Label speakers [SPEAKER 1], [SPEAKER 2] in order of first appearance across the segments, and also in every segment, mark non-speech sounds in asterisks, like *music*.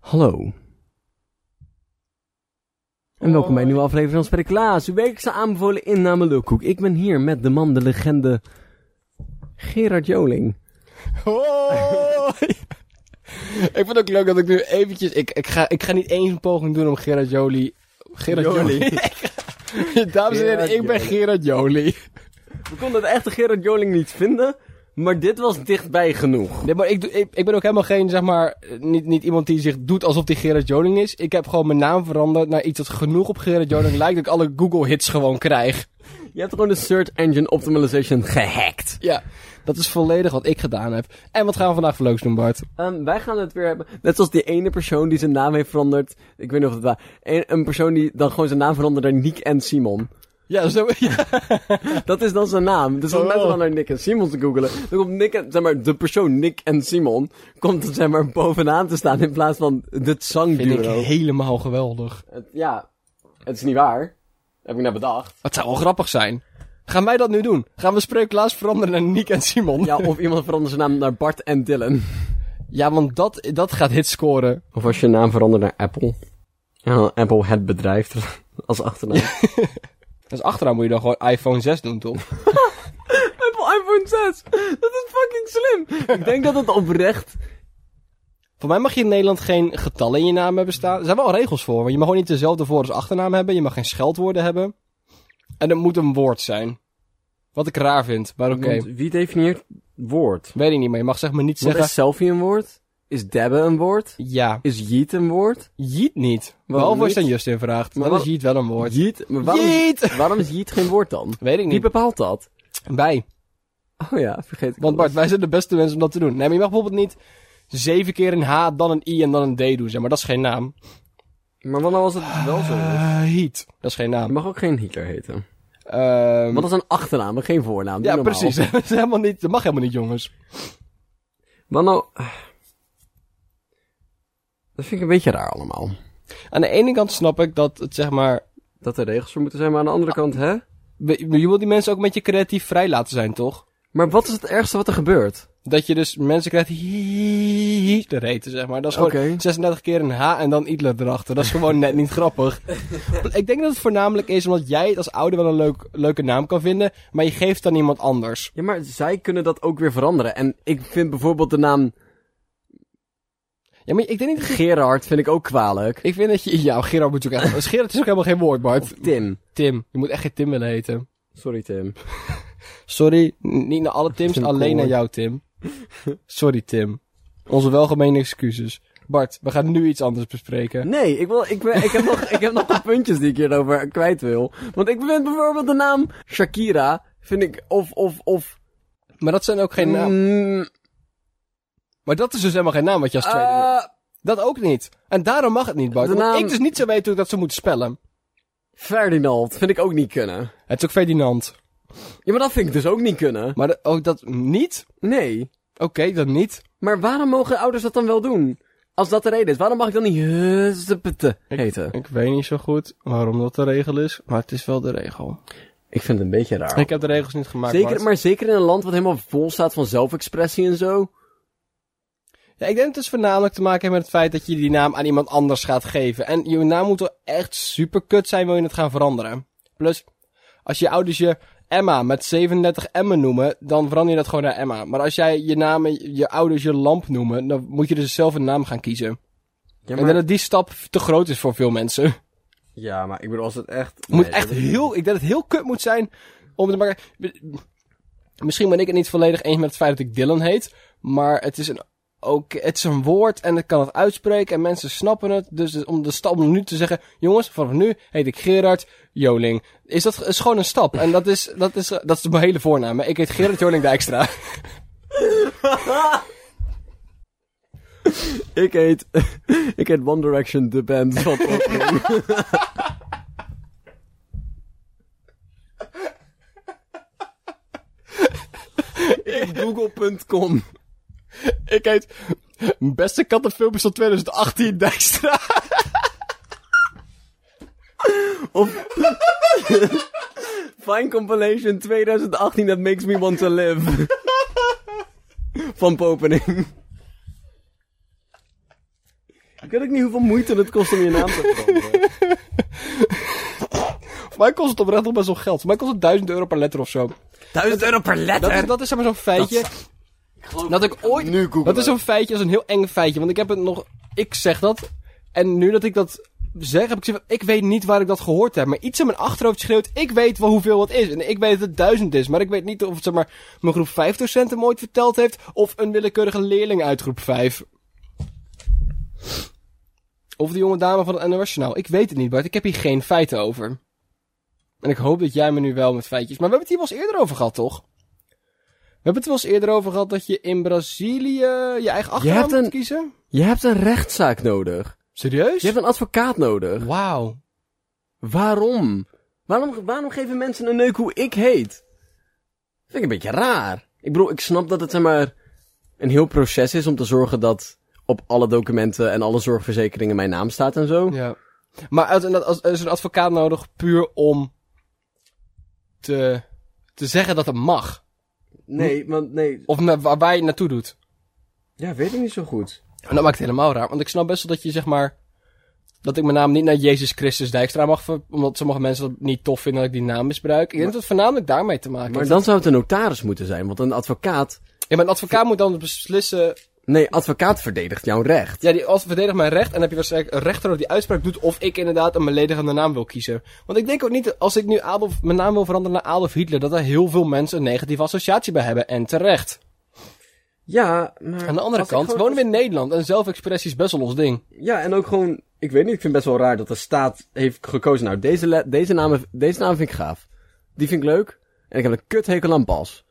[SPEAKER 1] Hallo. En welkom bij een nieuwe aflevering van Spreeklaas. Uw wekelijkse aanbevolen inname Lulkoek. Ik ben hier met de man, de legende, Gerard Joling.
[SPEAKER 2] Hoi! *laughs* ik vind het ook leuk dat ik nu eventjes... Ik, ik, ga, ik ga niet eens een poging doen om Gerard Jolie... Gerard Jolie? *laughs* Dames en heren,
[SPEAKER 1] Gerard
[SPEAKER 2] ik ben
[SPEAKER 1] Joling.
[SPEAKER 2] Gerard Jolie.
[SPEAKER 1] We konden de echte Gerard Joling niet vinden, maar dit was dichtbij genoeg.
[SPEAKER 2] Nee, maar ik, doe- ik, ik ben ook helemaal geen, zeg maar... eh, Niet, niet iemand die zich doet alsof die Gerard Joling is. Ik heb gewoon mijn naam veranderd naar iets dat genoeg op Gerard Joling *laughs* lijkt... dat ik alle Google-hits gewoon krijg.
[SPEAKER 1] Je hebt gewoon de Search Engine Optimization gehackt.
[SPEAKER 2] Ja, dat is volledig wat ik gedaan heb. En wat gaan we vandaag voor leuks doen, Bart?
[SPEAKER 1] Ehm, wij gaan het weer hebben, net zoals die ene persoon die zijn naam heeft veranderd. Ik weet niet of het waar. Een, een persoon die dan gewoon zijn naam veranderde naar Nick en Simon.
[SPEAKER 2] Ja, zo... *laughs* Ja.
[SPEAKER 1] Dat is dan zijn naam. Dus om
[SPEAKER 2] Oh.
[SPEAKER 1] mensen gewoon naar Nick en Simon te googelen, dan komt Nick en, zeg maar, de persoon Nick en Simon, komt zeg maar bovenaan te staan in plaats van het
[SPEAKER 2] Vind ik
[SPEAKER 1] zangduo.
[SPEAKER 2] helemaal geweldig.
[SPEAKER 1] Het- ja, het is niet waar. Heb ik net bedacht.
[SPEAKER 2] Het zou wel grappig zijn. Gaan wij dat nu doen? Gaan we Spreeklaas veranderen naar Nick en Simon?
[SPEAKER 1] Ja, of iemand verandert zijn naam naar Bart en Dylan.
[SPEAKER 2] Ja, want dat, dat gaat hits scoren.
[SPEAKER 1] Of als je naam verandert naar Apple. En dan Apple het bedrijf als achternaam.
[SPEAKER 2] Dus achteraan moet je dan gewoon iPhone 6 doen, toch?
[SPEAKER 1] Apple iPhone 6! Dat is fucking slim! Ik denk dat het oprecht...
[SPEAKER 2] Voor mij mag je in Nederland geen getallen in je naam hebben staan. Er zijn wel regels voor, want je mag gewoon niet dezelfde voor- als achternaam hebben. Je mag geen scheldwoorden hebben. En het moet een woord zijn. Wat ik raar vind, maar oké.
[SPEAKER 1] Want wie definieert woord?
[SPEAKER 2] Weet ik niet, maar je mag zeg maar niet
[SPEAKER 1] Wat
[SPEAKER 2] zeggen...
[SPEAKER 1] is selfie een woord? Is debben een woord?
[SPEAKER 2] Ja,
[SPEAKER 1] Is jeet een woord?
[SPEAKER 2] jeet niet. Behalve als je
[SPEAKER 1] niet?
[SPEAKER 2] aan Justin vraagt.
[SPEAKER 1] Maar
[SPEAKER 2] Dan is
[SPEAKER 1] wat-
[SPEAKER 2] jeet wel een woord.
[SPEAKER 1] Jeet? Maar waarom,
[SPEAKER 2] Jeet!
[SPEAKER 1] waarom is jeet geen woord dan?
[SPEAKER 2] Weet ik
[SPEAKER 1] Wie
[SPEAKER 2] niet.
[SPEAKER 1] bepaalt dat?
[SPEAKER 2] Bij.
[SPEAKER 1] Hmm. Oh ja, vergeet ik
[SPEAKER 2] Want
[SPEAKER 1] alles.
[SPEAKER 2] Bart, wij zijn de beste mensen om dat te doen. Nee, maar je mag bijvoorbeeld niet zeven keer een H, dan een I en dan een D doen, zeg maar. Dat is geen naam.
[SPEAKER 1] Maar wat nou als het wel zo is?
[SPEAKER 2] heat. Dat is geen
[SPEAKER 1] Je
[SPEAKER 2] naam.
[SPEAKER 1] mag ook geen Hitler heten.
[SPEAKER 2] Ehm,
[SPEAKER 1] Want dat is een achternaam, maar geen voornaam. Doe
[SPEAKER 2] ja,
[SPEAKER 1] normaal.
[SPEAKER 2] precies. *laughs* dat, is helemaal niet, dat mag helemaal niet, jongens.
[SPEAKER 1] Wat nou... Dat vind ik een beetje raar allemaal.
[SPEAKER 2] Aan de ene kant snap ik dat het, zeg maar...
[SPEAKER 1] Dat er regels voor moeten zijn, maar aan de andere kant, hè?
[SPEAKER 2] we- Je wil die mensen ook met je creatief vrij laten zijn, toch?
[SPEAKER 1] Maar wat is het ergste wat er gebeurt?
[SPEAKER 2] Dat je dus mensen krijgt die Hitler heten, zeg maar. Dat is gewoon
[SPEAKER 1] Oké.
[SPEAKER 2] 36 keer een H en dan Hitler erachter. Dat is gewoon net niet grappig. Ik denk dat het voornamelijk is omdat jij het als ouder wel een leuk, leuke naam kan vinden, maar je geeft het aan iemand anders.
[SPEAKER 1] Ja, maar zij kunnen dat ook weer veranderen. En ik vind bijvoorbeeld de naam
[SPEAKER 2] Ja, maar ik denk niet...
[SPEAKER 1] Gerard vind ik ook kwalijk.
[SPEAKER 2] Ik vind dat je... Ja, Gerard moet je ook *laughs* echt... Gerard is ook helemaal geen woord, Bart.
[SPEAKER 1] Tim.
[SPEAKER 2] Tim. Je moet echt geen Tim willen heten.
[SPEAKER 1] Sorry, Tim.
[SPEAKER 2] Sorry, n- niet naar alle Tims,
[SPEAKER 1] Tim
[SPEAKER 2] alleen naar
[SPEAKER 1] Koolhoorn.
[SPEAKER 2] jou, Tim. Sorry, Tim. Onze welgemeende excuses. Bart, we gaan nu iets anders
[SPEAKER 1] *laughs*
[SPEAKER 2] bespreken.
[SPEAKER 1] Nee, ik, wil, ik, ben, ik, heb nog, ik heb nog wat puntjes die ik hierover kwijt wil. Want ik vind bijvoorbeeld de naam Shakira, vind ik, of, of, of...
[SPEAKER 2] Maar dat zijn ook geen naam.
[SPEAKER 1] Mm,
[SPEAKER 2] Maar dat is dus helemaal geen naam wat je als tweede doet.
[SPEAKER 1] eh,
[SPEAKER 2] Dat ook niet. En daarom mag het niet, Bart.
[SPEAKER 1] De
[SPEAKER 2] Omdat
[SPEAKER 1] naam-
[SPEAKER 2] ik dus niet zo weet hoe ik dat zou moeten spellen.
[SPEAKER 1] Ferdinand, vind ik ook niet kunnen.
[SPEAKER 2] Het is ook Ferdinand.
[SPEAKER 1] Ja, maar dat vind ik dus ook niet kunnen.
[SPEAKER 2] Maar dat- ook dat niet?
[SPEAKER 1] Nee.
[SPEAKER 2] Oké, dat niet.
[SPEAKER 1] Maar waarom mogen ouders dat dan wel doen? Als dat de reden is, waarom mag ik dan niet Huzzepete heten?
[SPEAKER 2] Ik weet niet zo goed waarom dat de regel is, maar het is wel de regel.
[SPEAKER 1] Ik vind het een beetje raar.
[SPEAKER 2] Ik heb de regels niet gemaakt, Bart.
[SPEAKER 1] Zeker, maar zeker in een land wat helemaal vol staat van zelfexpressie en zo.
[SPEAKER 2] Ja, ik denk dat het dus voornamelijk te maken heeft met het feit dat je die naam aan iemand anders gaat geven. En je naam moet wel echt super kut zijn, wil je het gaan veranderen. Plus, als je ouders je Emma met 37 Emmen noemen, dan verander je dat gewoon naar Emma. Maar als jij je naam, en je ouders je lamp noemen, dan moet je dus zelf een naam gaan kiezen.
[SPEAKER 1] Ja,
[SPEAKER 2] Ik denk dat die stap te groot is voor veel mensen. Het
[SPEAKER 1] ja, maar ik bedoel, als het echt...
[SPEAKER 2] moet echt heel, ik denk dat het heel kut moet zijn om te maken. Misschien ben ik het niet volledig eens met het feit dat ik Dylan heet, maar het is een ook, het is een woord en ik kan het uitspreken en mensen snappen het. Dus om de stap om nu te zeggen, jongens, vanaf nu heet ik Gerard Joling. Is dat is gewoon een stap en dat is, dat is, dat is mijn hele voornaam. hè. Ik heet Gerard Joling Dijkstra.
[SPEAKER 1] *laughs* Ik heet... ik heet One Direction, de band van *laughs* Oprah. Google.com.
[SPEAKER 2] Ik heet Beste Kattenfilmpjes tot
[SPEAKER 1] *laughs*
[SPEAKER 2] 2018 Dijkstra.
[SPEAKER 1] *laughs* Fine Compilation 2018 That Makes Me Want To Live. van Popening. Ik weet ook niet hoeveel moeite het kost om je naam te veranderen.
[SPEAKER 2] Voor *laughs* mij kost het oprecht nog best wel geld. Voor mij kost het 1000 euro per letter of zo.
[SPEAKER 1] 1000 euro per
[SPEAKER 2] Dat is,
[SPEAKER 1] letter!
[SPEAKER 2] dat is zeg maar zo'n feitje. Dat, ik ooit.
[SPEAKER 1] Nu googelen.
[SPEAKER 2] Dat is zo'n feitje, dat is een heel eng feitje. Want ik heb het nog. Ik zeg dat. En nu dat ik dat zeg, heb ik zoiets van, Ik weet niet waar ik dat gehoord heb. Maar iets in mijn achterhoofd schreeuwt. Ik weet wel hoeveel het is. En ik weet dat het duizend is. Maar ik weet niet of het zeg maar. Mijn groep 5 docenten me ooit verteld heeft. Of een willekeurige leerling uit groep 5. Of de jonge dame van het NOS Journaal. Ik weet het niet, Bart. Ik heb hier geen feiten over. En ik hoop dat jij me nu wel met feitjes... Maar we hebben het hier wel eens eerder over gehad, toch? We hebben het er wel eens eerder over gehad dat je in Brazilië je eigen achternaam
[SPEAKER 1] hebt
[SPEAKER 2] moet
[SPEAKER 1] een-
[SPEAKER 2] kiezen.
[SPEAKER 1] Je hebt een rechtszaak nodig.
[SPEAKER 2] Serieus?
[SPEAKER 1] Je hebt een advocaat nodig.
[SPEAKER 2] Wauw.
[SPEAKER 1] Waarom? Waarom, waarom geven mensen een neuk hoe ik heet? Dat vind ik een beetje raar. Ik bedoel, ik snap dat het zeg maar een heel proces is om te zorgen dat op alle documenten en alle zorgverzekeringen mijn naam staat en zo.
[SPEAKER 2] Ja. Maar als, als, er is een advocaat nodig puur om te, te zeggen dat het mag.
[SPEAKER 1] Nee, want nee.
[SPEAKER 2] Of na- waar, waar je het naartoe doet.
[SPEAKER 1] Ja, weet ik niet zo goed.
[SPEAKER 2] En dat maakt het helemaal raar. Want ik snap best wel dat je zeg maar... Dat ik mijn naam niet naar Jezus Christus Dijkstra mag... ver- Omdat sommige mensen dat niet tof vinden dat ik die naam misbruik. Ik denk dat het voornamelijk daarmee te maken
[SPEAKER 1] Maar
[SPEAKER 2] heeft.
[SPEAKER 1] dan zou het een notaris moeten zijn, want een advocaat.
[SPEAKER 2] Ja, maar een advocaat moet dan beslissen...
[SPEAKER 1] Nee, advocaat verdedigt jouw recht.
[SPEAKER 2] Ja, die als verdedigt mijn recht. En dan heb je waarschijnlijk een rechter die die uitspraak doet... Of ik inderdaad een beledigende naam wil kiezen. Want ik denk ook niet... dat Als ik nu Adolf, mijn naam wil veranderen naar Adolf Hitler... Dat er heel veel mensen een negatieve associatie bij hebben. En terecht.
[SPEAKER 1] Ja, maar.
[SPEAKER 2] Aan de andere kant wonen we in Nederland. En zelfexpressie is best wel ons ding.
[SPEAKER 1] Ja, en ook gewoon. Ik weet niet, ik vind het best wel raar dat de staat heeft gekozen. Nou, deze, le- deze, naam, deze naam vind ik gaaf. Die vind ik leuk. En ik heb een kuthekel aan Bas.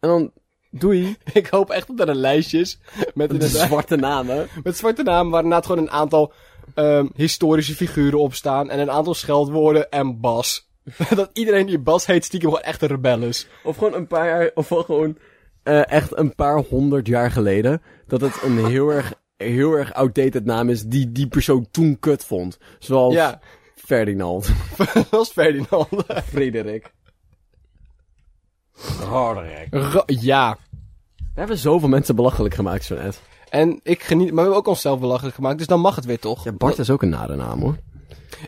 [SPEAKER 1] En dan. Doei.
[SPEAKER 2] *laughs* Ik hoop echt dat er een lijstje is. Met
[SPEAKER 1] De
[SPEAKER 2] inderdaad...
[SPEAKER 1] zwarte namen.
[SPEAKER 2] Met zwarte naam waar inderdaad gewoon een aantal ehm, historische figuren op staan. En een aantal scheldwoorden en Bas. *laughs* dat iedereen die Bas heet stiekem gewoon echt een rebel is.
[SPEAKER 1] Of gewoon een paar jaar. Of wel gewoon. eh, echt een paar honderd jaar geleden. Dat het een heel erg. Heel erg outdated naam is die die persoon toen kut vond. Zoals
[SPEAKER 2] Ja,
[SPEAKER 1] Ferdinand. *laughs*
[SPEAKER 2] *laughs* dat was Ferdinand.
[SPEAKER 1] Frederik. Frederik.
[SPEAKER 2] Ra- ja.
[SPEAKER 1] We hebben zoveel mensen belachelijk gemaakt zo net.
[SPEAKER 2] En ik geniet, maar we hebben ook onszelf belachelijk gemaakt, dus dan mag het weer toch?
[SPEAKER 1] Ja, Bart is ook een nare naam hoor.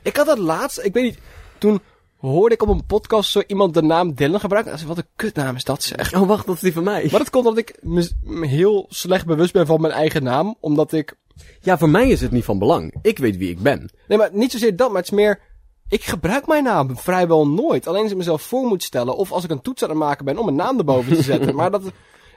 [SPEAKER 2] Ik had dat laatst, ik weet niet, toen hoorde ik op een podcast zo iemand de naam Dylan gebruiken. En ik dacht, Wat een kutnaam is dat zeg.
[SPEAKER 1] Oh, wacht, dat is die van mij.
[SPEAKER 2] Maar dat komt omdat ik me me heel slecht bewust ben van mijn eigen naam. Omdat ik
[SPEAKER 1] Ja, voor mij is het niet van belang. Ik weet wie ik ben.
[SPEAKER 2] Nee, maar niet zozeer dat, maar het is meer... Ik gebruik mijn naam vrijwel nooit. Alleen als ik mezelf voor moet stellen... of als ik een toets aan het maken ben om mijn naam erboven te zetten. maar dat...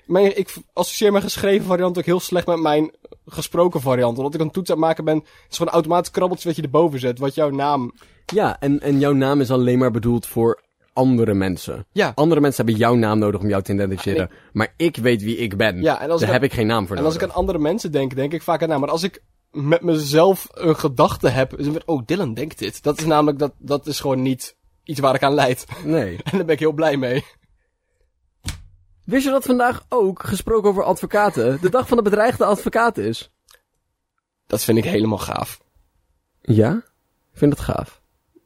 [SPEAKER 2] Mijn, ik associeer mijn geschreven variant ook heel slecht met mijn gesproken variant. Omdat ik een toets aan het maken ben... Het is gewoon automatisch krabbeltje wat je erboven zet. Wat jouw naam...
[SPEAKER 1] Ja, en, en jouw naam is alleen maar bedoeld voor andere mensen.
[SPEAKER 2] Ja.
[SPEAKER 1] Andere mensen hebben jouw naam nodig om jou te identificeren. Maar Ah, ik weet wie ik ben.
[SPEAKER 2] Ja, en als ik
[SPEAKER 1] Daar
[SPEAKER 2] aan-
[SPEAKER 1] heb ik geen naam voor
[SPEAKER 2] En als ik
[SPEAKER 1] nodig.
[SPEAKER 2] aan andere mensen denk, denk ik vaak aan naam. Maar als ik met mezelf een gedachte heb... Is het weer, oh, Dylan denkt dit. Dat is namelijk... Dat, dat is gewoon niet iets waar ik aan leid. *laughs*
[SPEAKER 1] Nee.
[SPEAKER 2] En daar ben ik heel blij mee.
[SPEAKER 1] Wist je dat vandaag ook, gesproken over advocaten, de dag van de bedreigde advocaat is?
[SPEAKER 2] Dat vind ik helemaal gaaf.
[SPEAKER 1] Ja? Ik vind dat gaaf.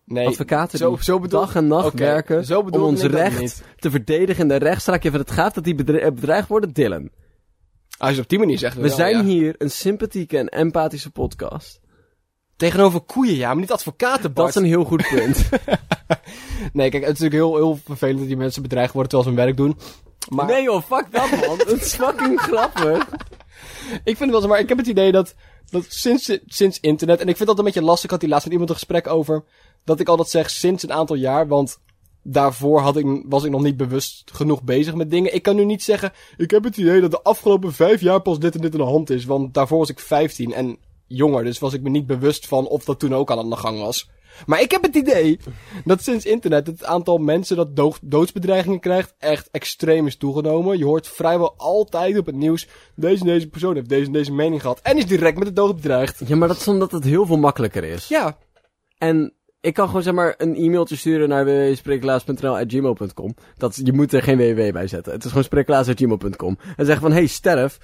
[SPEAKER 2] Nee,
[SPEAKER 1] Advocaten
[SPEAKER 2] zo,
[SPEAKER 1] die
[SPEAKER 2] zo bedoel...
[SPEAKER 1] dag en nacht
[SPEAKER 2] Oké,
[SPEAKER 1] werken
[SPEAKER 2] zo
[SPEAKER 1] om
[SPEAKER 2] bedoelde
[SPEAKER 1] ons
[SPEAKER 2] ik dat
[SPEAKER 1] recht
[SPEAKER 2] niet.
[SPEAKER 1] te verdedigen in de rechtszaak. Je vindt het gaaf dat die bedre- eh, bedreigd worden? Dylan.
[SPEAKER 2] Als je het Ah, dus op die manier zegt.
[SPEAKER 1] We
[SPEAKER 2] wel,
[SPEAKER 1] zijn
[SPEAKER 2] ja.
[SPEAKER 1] hier een sympathieke en empathische podcast.
[SPEAKER 2] Tegenover koeien, ja, maar niet advocaten,
[SPEAKER 1] Dat
[SPEAKER 2] Bart.
[SPEAKER 1] is een heel goed punt.
[SPEAKER 2] Nee, kijk, het is natuurlijk heel, heel vervelend dat die mensen bedreigd worden terwijl ze hun werk doen. *laughs* Maar
[SPEAKER 1] Nee joh, fuck dat man. Het is fucking grappig.
[SPEAKER 2] ik vind het wel zo, maar ik heb het idee dat, dat sinds, sinds internet, en ik vind dat een beetje lastig, ik had hier laatst met iemand een gesprek over, dat ik altijd zeg sinds een aantal jaar, want daarvoor had ik, was ik nog niet bewust genoeg bezig met dingen. Ik kan nu niet zeggen, ik heb het idee dat de afgelopen vijf jaar pas dit en dit aan de hand is, want daarvoor was ik 15 en jonger, dus was ik me niet bewust van of dat toen ook al aan de gang was. Maar ik heb het idee dat sinds internet het aantal mensen dat dood- doodsbedreigingen krijgt echt extreem is toegenomen. Je hoort vrijwel altijd op het nieuws, deze en deze persoon heeft deze en deze mening gehad en is direct met de dood bedreigd.
[SPEAKER 1] Ja, maar dat is omdat het heel veel makkelijker is.
[SPEAKER 2] Ja,
[SPEAKER 1] En ik kan gewoon zeg maar een e-mailtje sturen naar www.spreeklaas.nl@gmail.com. Dat Je moet er geen www bij zetten. Het is gewoon spreeklaas.gmail.com. En zeggen van, hey sterf.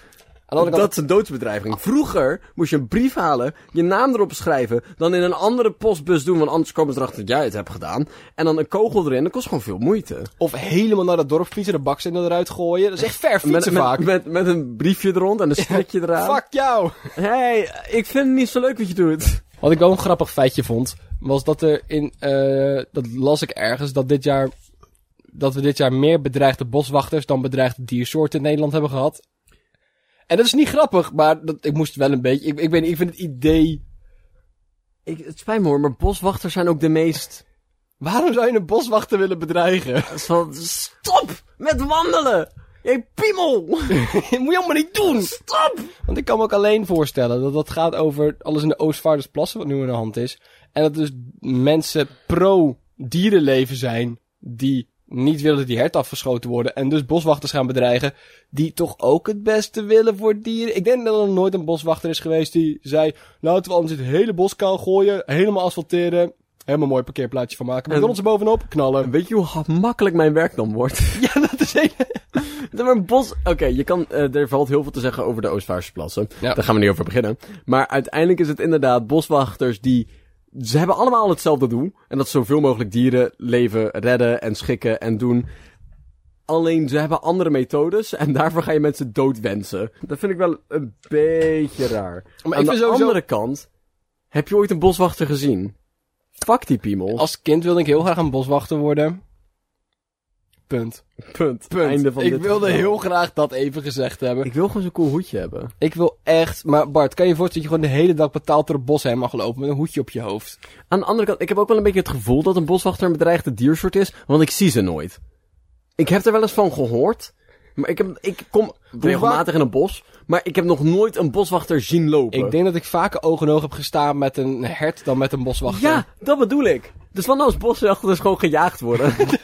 [SPEAKER 2] Aan de andere kant,
[SPEAKER 1] Dat is een doodsbedreiging. Vroeger moest je een brief halen, je naam erop schrijven, dan in een andere postbus doen, want anders komen ze erachter dat jij het hebt gedaan. En dan een kogel erin, dat kost gewoon veel moeite.
[SPEAKER 2] of helemaal naar dat dorp fietsen, de bakstenen eruit gooien. Dat is echt ver
[SPEAKER 1] Met,
[SPEAKER 2] fietsen
[SPEAKER 1] met-
[SPEAKER 2] vaak.
[SPEAKER 1] Met, met een briefje er rond en een strikje eraan.
[SPEAKER 2] Fuck jou!
[SPEAKER 1] hey, ik vind het niet zo leuk wat je doet.
[SPEAKER 2] Wat ik wel een grappig feitje vond, was dat er in, eh, dat las ik ergens, dat dit jaar, dat we dit jaar meer bedreigde boswachters dan bedreigde diersoorten in Nederland hebben gehad. En dat is niet grappig, maar dat, ik moest wel een beetje, ik, ik weet niet, ik vind het idee,
[SPEAKER 1] Ik, het spijt me hoor, maar boswachters zijn ook de meest...
[SPEAKER 2] waarom zou je een boswachter willen bedreigen?
[SPEAKER 1] Zo- Stop met wandelen! Jij piemel! *laughs*
[SPEAKER 2] Moet je helemaal niet doen!
[SPEAKER 1] Stop!
[SPEAKER 2] Want ik kan me ook alleen voorstellen dat dat gaat over alles in de Oostvaardersplassen wat nu aan de hand is. En dat dus mensen pro-dierenleven zijn die niet willen dat die herten afgeschoten worden. En dus boswachters gaan bedreigen die toch ook het beste willen voor dieren. Ik denk dat er nog nooit een boswachter is geweest die zei... Laten we anders het hele bos kaal gooien, helemaal asfalteren... Helemaal mooi parkeerplaatsje van maken. McDonald's er bovenop, knallen.
[SPEAKER 1] Weet je hoe makkelijk mijn werk dan wordt?
[SPEAKER 2] *laughs* Ja, dat is heel...
[SPEAKER 1] Nee, maar een bos... Oké, je kan... eh, er valt heel veel te zeggen over de Oostvaarse plassen.
[SPEAKER 2] Ja.
[SPEAKER 1] Daar gaan we niet over beginnen. Maar uiteindelijk is het inderdaad boswachters die... Ze hebben allemaal hetzelfde doel. En dat is zoveel mogelijk dieren leven, redden en schikken en doen. Alleen ze hebben andere methodes. En daarvoor ga je mensen doodwensen. Dat vind ik wel een beetje raar.
[SPEAKER 2] Maar
[SPEAKER 1] Aan
[SPEAKER 2] ik
[SPEAKER 1] de
[SPEAKER 2] vind sowieso-
[SPEAKER 1] andere kant... Heb je ooit een boswachter gezien? Fuck die piemel.
[SPEAKER 2] Als kind wilde ik heel graag een boswachter worden. Punt.
[SPEAKER 1] Punt.
[SPEAKER 2] Punt.
[SPEAKER 1] Einde van
[SPEAKER 2] ik
[SPEAKER 1] dit
[SPEAKER 2] wilde
[SPEAKER 1] verhaal.
[SPEAKER 2] heel graag dat even gezegd hebben.
[SPEAKER 1] Ik wil gewoon zo'n cool hoedje hebben.
[SPEAKER 2] Ik wil echt... Maar Bart, kan je je voorstellen dat je gewoon de hele dag betaald door het bos heen mag lopen met een hoedje op je hoofd?
[SPEAKER 1] Aan de andere kant, ik heb ook wel een beetje het gevoel dat een boswachter een bedreigde diersoort is, want ik zie ze nooit. Ik heb er wel eens van gehoord, maar ik, heb, ik kom regelmatig in een bos, maar ik heb nog nooit een boswachter zien lopen.
[SPEAKER 2] Ik denk dat ik vaker oog in oog heb gestaan met een hert dan met een boswachter.
[SPEAKER 1] Ja, dat bedoel ik. Dus wat nou als boswachters gewoon gejaagd *laughs* worden? Het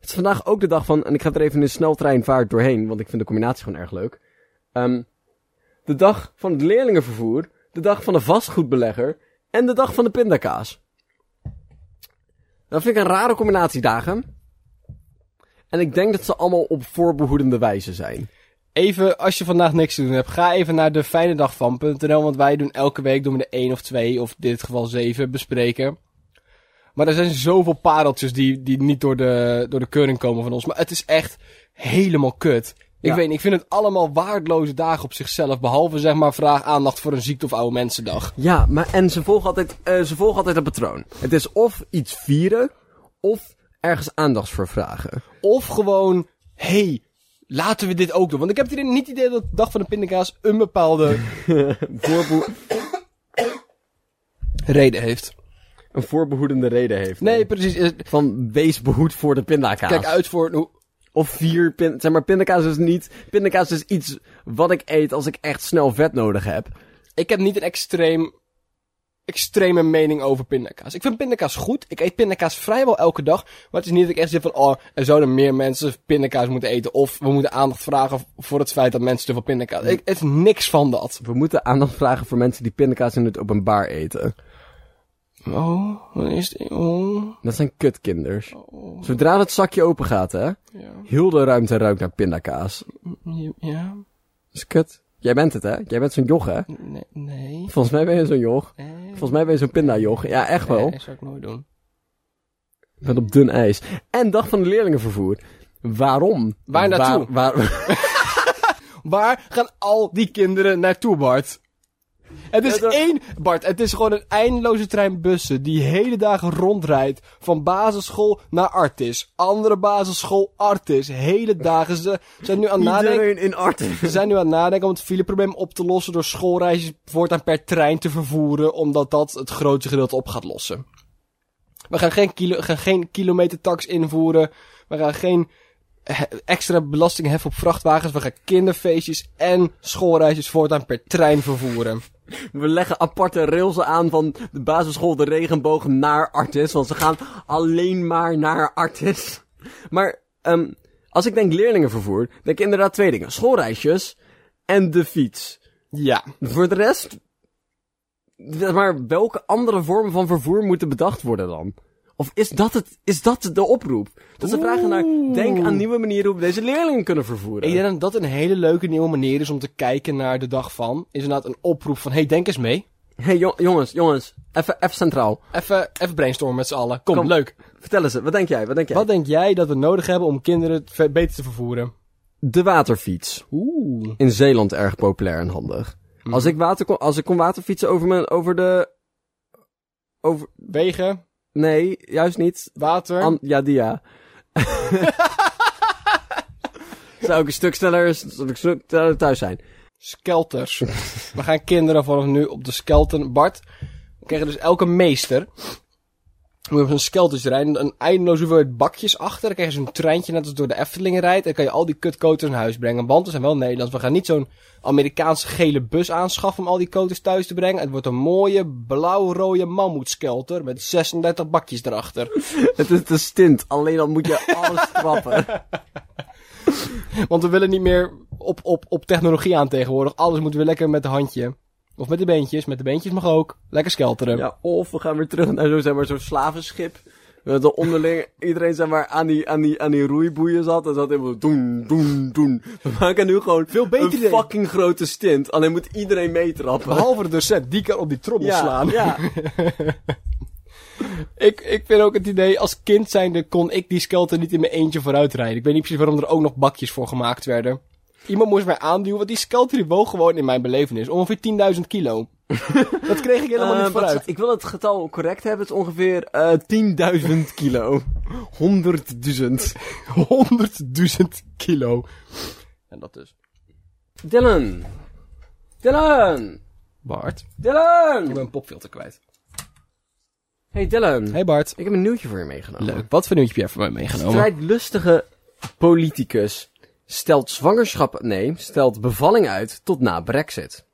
[SPEAKER 1] is vandaag ook de dag van, en ik ga er even in een sneltreinvaart doorheen, want ik vind de combinatie gewoon erg leuk. Ehm, de dag van het leerlingenvervoer, de dag van de vastgoedbelegger en de dag van de pindakaas. Dat vind ik een rare combinatie dagen. En ik denk dat ze allemaal op voorbehoedende wijze zijn.
[SPEAKER 2] Even, als je vandaag niks te doen hebt, ga even naar de fijnedagvan.nl, want wij doen elke week doen we de 1 of 2, of in dit geval 7, bespreken. Maar er zijn zoveel pareltjes die, die niet door de, door de keuring komen van ons. Maar het is echt helemaal kut. Ik
[SPEAKER 1] Ja.
[SPEAKER 2] weet niet, ik vind het allemaal waardeloze dagen op zichzelf. Behalve zeg maar vraag aandacht voor een ziekte of oude mensendag.
[SPEAKER 1] Ja, maar en ze volgen altijd, eh, ze volgen altijd een patroon. Het is of iets vieren, of ergens aandacht voor vragen.
[SPEAKER 2] Of gewoon, hé, hey, laten we dit ook doen. Want ik heb het idee- niet het idee dat de dag van de pindakaas een bepaalde
[SPEAKER 1] Voorbeho-
[SPEAKER 2] reden heeft.
[SPEAKER 1] een voorbehoedende reden heeft.
[SPEAKER 2] Nee, precies. Eh,
[SPEAKER 1] Van wees behoed voor de pindakaas.
[SPEAKER 2] Kijk uit voor... hoe-
[SPEAKER 1] Of vier pin, zeg maar, pindakaas is niet, pindakaas is iets wat ik eet als ik echt snel vet nodig heb.
[SPEAKER 2] Ik heb niet een extreem, extreme mening over pindakaas. Ik vind pindakaas goed. Ik eet pindakaas vrijwel elke dag. Maar het is niet dat ik echt zeg van, oh, er zouden meer mensen pindakaas moeten eten. Of we moeten aandacht vragen voor het feit dat mensen te veel pindakaas... Ik, het is niks van dat.
[SPEAKER 1] We moeten aandacht vragen voor mensen die pindakaas in het openbaar eten.
[SPEAKER 2] Oh, wat is dit? Oh,
[SPEAKER 1] Dat zijn kutkinders. Zodra het zakje open gaat, hè,
[SPEAKER 2] ja,
[SPEAKER 1] heel de ruimte ruikt naar pindakaas. Dat
[SPEAKER 2] ja,
[SPEAKER 1] is kut. Jij bent het, hè? Jij bent zo'n joch, hè?
[SPEAKER 2] nee, nee.
[SPEAKER 1] Volgens mij ben je zo'n joch.
[SPEAKER 2] nee.
[SPEAKER 1] Volgens mij ben je zo'n pindajoch. Ja, echt wel.
[SPEAKER 2] dat zou ik nooit doen.
[SPEAKER 1] Ik ben op dun ijs. En dag van de leerlingenvervoer. Waarom?
[SPEAKER 2] Waar naartoe?
[SPEAKER 1] Waar,
[SPEAKER 2] *laughs*
[SPEAKER 1] waar-
[SPEAKER 2] Waar gaan al die kinderen naartoe, Bart? Het is
[SPEAKER 1] Ja, dat-
[SPEAKER 2] één, Bart, het is gewoon een eindeloze trein bussen die hele dagen rondrijdt. Van basisschool naar Artis. Andere basisschool, Artis. Hele dagen. Ze zijn nu aan het nadenken.
[SPEAKER 1] Iedereen in Artis.
[SPEAKER 2] Ze zijn nu aan het nadenken om het fileprobleem op te lossen door schoolreisjes voortaan per trein te vervoeren, omdat dat het grootste gedeelte op gaat lossen. We gaan geen, kilo, gaan geen kilometertax invoeren. We gaan geen eh, extra belasting heffen op vrachtwagens. We gaan kinderfeestjes en schoolreisjes voortaan per trein vervoeren.
[SPEAKER 1] We leggen aparte rails aan van de basisschool De Regenboog naar Artis. Want ze gaan alleen maar naar Artis. Maar ehm, als ik denk leerlingenvervoer, denk ik inderdaad twee dingen. Schoolreisjes en de fiets.
[SPEAKER 2] Ja.
[SPEAKER 1] Voor de rest... zeg Maar welke andere vormen van vervoer moeten bedacht worden dan? Of is dat, het, is dat de oproep? Dat ze vragen naar,
[SPEAKER 2] Oeh.
[SPEAKER 1] denk aan nieuwe manieren hoe we deze leerlingen kunnen
[SPEAKER 2] Ik
[SPEAKER 1] vervoeren.
[SPEAKER 2] denk dat dat een hele leuke nieuwe manier is om te kijken naar de dag van. Is inderdaad een oproep van, hey, denk eens mee.
[SPEAKER 1] hey, jo- jongens, jongens, even even centraal.
[SPEAKER 2] Even, even brainstormen met z'n allen. Kom,
[SPEAKER 1] Kom.
[SPEAKER 2] leuk.
[SPEAKER 1] Vertel eens, wat denk jij? Wat denk jij?
[SPEAKER 2] Wat denk jij dat we nodig hebben om kinderen ve- beter te vervoeren?
[SPEAKER 1] De waterfiets.
[SPEAKER 2] Oeh.
[SPEAKER 1] In Zeeland erg populair en handig.
[SPEAKER 2] Mhm.
[SPEAKER 1] Als, ik water kon, als ik kon waterfietsen over, mijn, over de... Over,
[SPEAKER 2] Wegen,
[SPEAKER 1] nee, juist niet.
[SPEAKER 2] water.
[SPEAKER 1] An- ja, die ja. *laughs* zou ik een stuk sneller, zou ik een stuk sneller thuis zijn.
[SPEAKER 2] Skelters. We gaan kinderen vanaf nu op de skelten. Bart, we krijgen dus elke meester. We hebben zo'n skelters rijden. Een eindeloze hoeveelheid bakjes achter. Dan krijg je zo'n treintje net als door de Efteling rijdt. Dan kan je al die kutkoters naar huis brengen. Want we zijn wel Nederlands. We gaan niet zo'n Amerikaanse gele bus aanschaffen om al die koters thuis te brengen. Het wordt een mooie blauw-rode mammoetskelter met 36 bakjes erachter.
[SPEAKER 1] Het is de stint, alleen dan moet je
[SPEAKER 2] *laughs*
[SPEAKER 1] alles trappen.
[SPEAKER 2] Want we willen niet meer op, op, op technologie aan tegenwoordig. Alles moeten we lekker met de handje. Of met de beentjes. Met de beentjes mag ook. Lekker skelteren.
[SPEAKER 1] Ja, of we gaan weer terug naar zo'n zeg maar, zo'n slavenschip. Dat er onderling iedereen zeg maar, aan, die, aan, die, aan die roeiboeien zat. En zat helemaal doen, doen, doen. We maken nu gewoon
[SPEAKER 2] Veel beter
[SPEAKER 1] een
[SPEAKER 2] idee.
[SPEAKER 1] fucking grote stint. Alleen moet iedereen meetrappen.
[SPEAKER 2] Behalve de docent, die kan op die trommel
[SPEAKER 1] ja,
[SPEAKER 2] slaan.
[SPEAKER 1] Ja.
[SPEAKER 2] Ik, ik vind ook het idee, als kind zijnde kon ik die skelter niet in mijn eentje vooruit rijden. Ik weet niet precies waarom er ook nog bakjes voor gemaakt werden. Iemand moest mij aanduwen, want die skelter die woog gewoon in mijn belevenis. Ongeveer
[SPEAKER 1] *laughs*
[SPEAKER 2] 10.000 kilo. dat kreeg ik *laughs* helemaal
[SPEAKER 1] Eh,
[SPEAKER 2] niet
[SPEAKER 1] wat-
[SPEAKER 2] vooruit.
[SPEAKER 1] ik wil het getal correct hebben. Het is ongeveer eh 10.000 kilo. 100.000.
[SPEAKER 2] 100.000 kilo. En dat dus.
[SPEAKER 1] Dylan. Dylan.
[SPEAKER 2] Bart.
[SPEAKER 1] Dylan.
[SPEAKER 2] Ik ben een popfilter kwijt.
[SPEAKER 1] Hey Dylan.
[SPEAKER 2] Hey Bart.
[SPEAKER 1] Ik heb een nieuwtje voor je meegenomen.
[SPEAKER 2] Leuk. Wat voor nieuwtje heb je voor mij meegenomen?
[SPEAKER 1] Strijdlustige politicus stelt zwangerschap, nee, stelt bevalling uit tot na Brexit.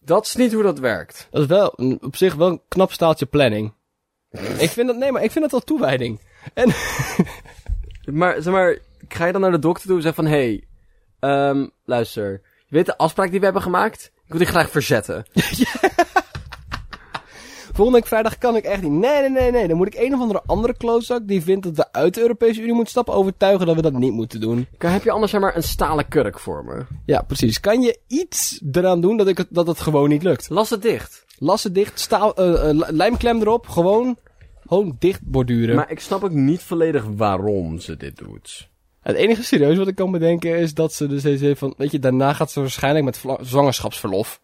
[SPEAKER 1] Dat is niet hoe dat werkt.
[SPEAKER 2] Dat is wel een- op zich wel een knap staaltje planning. ik vind dat, nee, maar ik vind dat wel toewijding. En *laughs*
[SPEAKER 1] Maar zeg maar, ga je dan naar de dokter toe en zeg van, hé, hey, ehm, luister, je weet de afspraak die we hebben gemaakt? Ik wil die graag verzetten.
[SPEAKER 2] Volgende week vrijdag kan ik echt niet. Nee, nee, nee, nee. Dan moet ik een of andere andere klootzak die vindt dat we uit de Europese Unie moeten stappen overtuigen dat we dat niet moeten doen.
[SPEAKER 1] Kan- *laughs* Heb je anders zeg maar een stalen kurk voor me?
[SPEAKER 2] Ja, precies. Kan je iets eraan doen dat, ik het, dat het gewoon niet lukt?
[SPEAKER 1] Las het dicht.
[SPEAKER 2] Lassen dicht, staal, eh, eh, li- lijmklem erop, gewoon, gewoon dicht borduren.
[SPEAKER 1] Maar ik snap ook niet volledig waarom ze dit doet.
[SPEAKER 2] Het enige serieus wat ik kan bedenken is dat ze dus deze heeft van, weet je, daarna gaat ze waarschijnlijk met vla-
[SPEAKER 1] *laughs*
[SPEAKER 2] zwangerschapsverlof.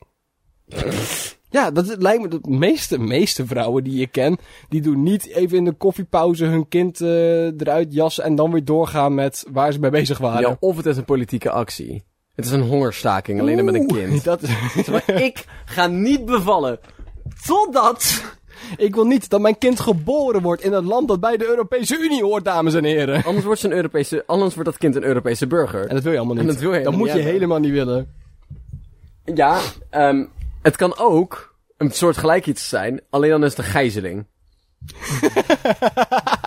[SPEAKER 2] ja, dat is- lijkt me de meeste, meeste vrouwen die je ken, die doen niet even in de koffiepauze hun kind eh, eruit jassen en dan weer doorgaan met waar ze mee bezig waren.
[SPEAKER 1] Ja, of het is een politieke actie. Het is een hongerstaking, alleen dan met een
[SPEAKER 2] Oeh,
[SPEAKER 1] kind.
[SPEAKER 2] *laughs* Dat is-
[SPEAKER 1] *laughs* Maar ik ga niet bevallen. Totdat.
[SPEAKER 2] ik wil niet dat mijn kind geboren wordt in een land dat bij de Europese Unie hoort, dames en heren.
[SPEAKER 1] Anders wordt, ze een Europese, anders wordt dat kind een Europese burger.
[SPEAKER 2] En dat wil je allemaal niet.
[SPEAKER 1] En dat wil je helemaal
[SPEAKER 2] moet
[SPEAKER 1] niet
[SPEAKER 2] je
[SPEAKER 1] hebben.
[SPEAKER 2] helemaal niet willen.
[SPEAKER 1] Ja, ehm, het kan ook een soort gelijk iets zijn, alleen dan is het een gijzeling.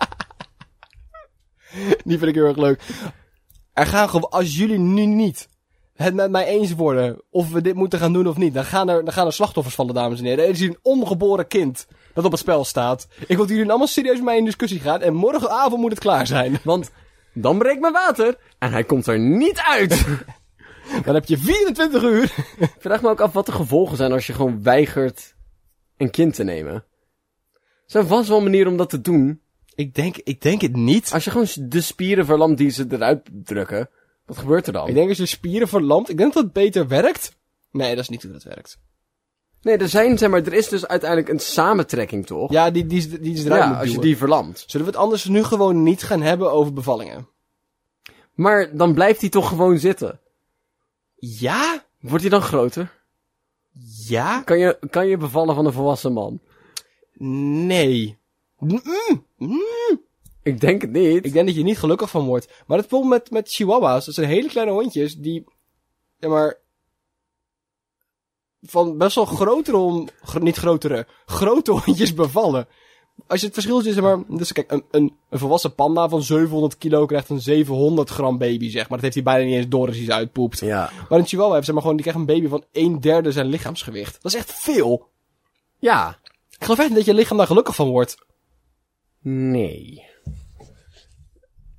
[SPEAKER 2] *laughs* Die vind ik heel erg leuk. Er gaan gewoon, als jullie nu niet het met mij eens worden of we dit moeten gaan doen of niet, dan gaan er, dan gaan er slachtoffers vallen, dames en heren. Er is hier een ongeboren kind dat op het spel staat. Ik wil dat jullie allemaal serieus met mij in discussie gaan en morgenavond moet het klaar zijn. *laughs*
[SPEAKER 1] Want dan breekt mijn water en hij komt er niet *laughs* uit.
[SPEAKER 2] Dan heb je 24 uur.
[SPEAKER 1] Ik vraag me ook af wat de gevolgen zijn als je gewoon weigert een kind te nemen. Er zijn vast wel manieren om dat te doen.
[SPEAKER 2] Ik denk, ik denk het niet.
[SPEAKER 1] Als je gewoon de spieren verlamt die ze eruit drukken, wat gebeurt er
[SPEAKER 2] Ik
[SPEAKER 1] dan?
[SPEAKER 2] denk als je spieren verlamt, ik denk dat het beter werkt. Nee, dat is niet hoe dat werkt.
[SPEAKER 1] Nee, er zijn, zeg maar, er is dus uiteindelijk een samentrekking toch?
[SPEAKER 2] Ja, die, die, is- die is eruit
[SPEAKER 1] ja
[SPEAKER 2] moet
[SPEAKER 1] als je
[SPEAKER 2] duwen.
[SPEAKER 1] die verlamt.
[SPEAKER 2] Zullen we het anders nu gewoon niet gaan hebben over bevallingen?
[SPEAKER 1] Maar dan blijft hij toch gewoon zitten.
[SPEAKER 2] Ja?
[SPEAKER 1] Wordt hij dan groter?
[SPEAKER 2] Ja?
[SPEAKER 1] Kan je, kan je bevallen van een volwassen man?
[SPEAKER 2] Nee. Mm-mm. Mm.
[SPEAKER 1] Ik denk het niet.
[SPEAKER 2] Ik denk dat je er niet gelukkig van wordt. Maar het probleem met, met chihuahuas, dat zijn hele kleine hondjes die, ja maar, van best wel grotere, hon- gro- niet grotere, grote hondjes bevallen. Als je het verschil ziet, zeg maar, dus kijk, een, een, een volwassen panda van 700 kilo krijgt een 700 gram baby, zeg maar. Dat heeft hij bijna niet eens door als hij ze uitpoept.
[SPEAKER 1] Ja.
[SPEAKER 2] Maar een chihuahua heeft, zeg maar, gewoon, die krijgt een baby van een derde zijn lichaamsgewicht. Dat is echt veel.
[SPEAKER 1] Ja.
[SPEAKER 2] Ik geloof echt niet dat je lichaam daar gelukkig van wordt.
[SPEAKER 1] Nee.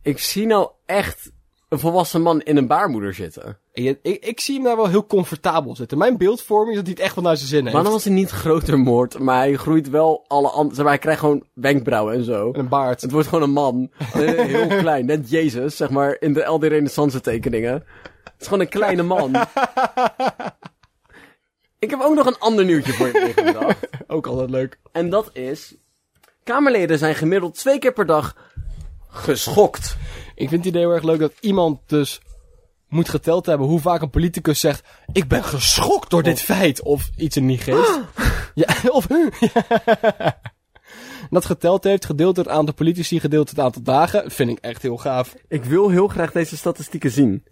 [SPEAKER 1] Ik zie nou echt een volwassen man in een baarmoeder zitten.
[SPEAKER 2] Ik, ik, ik zie hem daar wel heel comfortabel zitten. Mijn beeldvorming is dat hij het echt wel naar zijn zin heeft.
[SPEAKER 1] Maar dan was hij niet groter moord, maar hij groeit wel alle andere... Zeg maar, hij krijgt gewoon wenkbrauwen en zo.
[SPEAKER 2] En een baard.
[SPEAKER 1] Het wordt gewoon een man. Alleen Heel klein. Net Jezus, zeg maar, in de LD Renaissance tekeningen. Het is gewoon een kleine *laughs* man. Ik heb ook nog een ander nieuwtje voor je meegebracht.
[SPEAKER 2] Ook altijd leuk.
[SPEAKER 1] En dat is... Kamerleden zijn gemiddeld twee keer per dag geschokt.
[SPEAKER 2] Ik vind het idee heel erg leuk dat iemand dus moet geteld hebben hoe vaak een politicus zegt... Ik ben geschokt door dit feit. Of iets in die geest. Ja, *laughs* of... ja. Dat geteld heeft, gedeeld door het aantal politici, gedeeld door het aantal dagen. Vind ik echt heel gaaf.
[SPEAKER 1] Ik wil heel graag deze statistieken zien.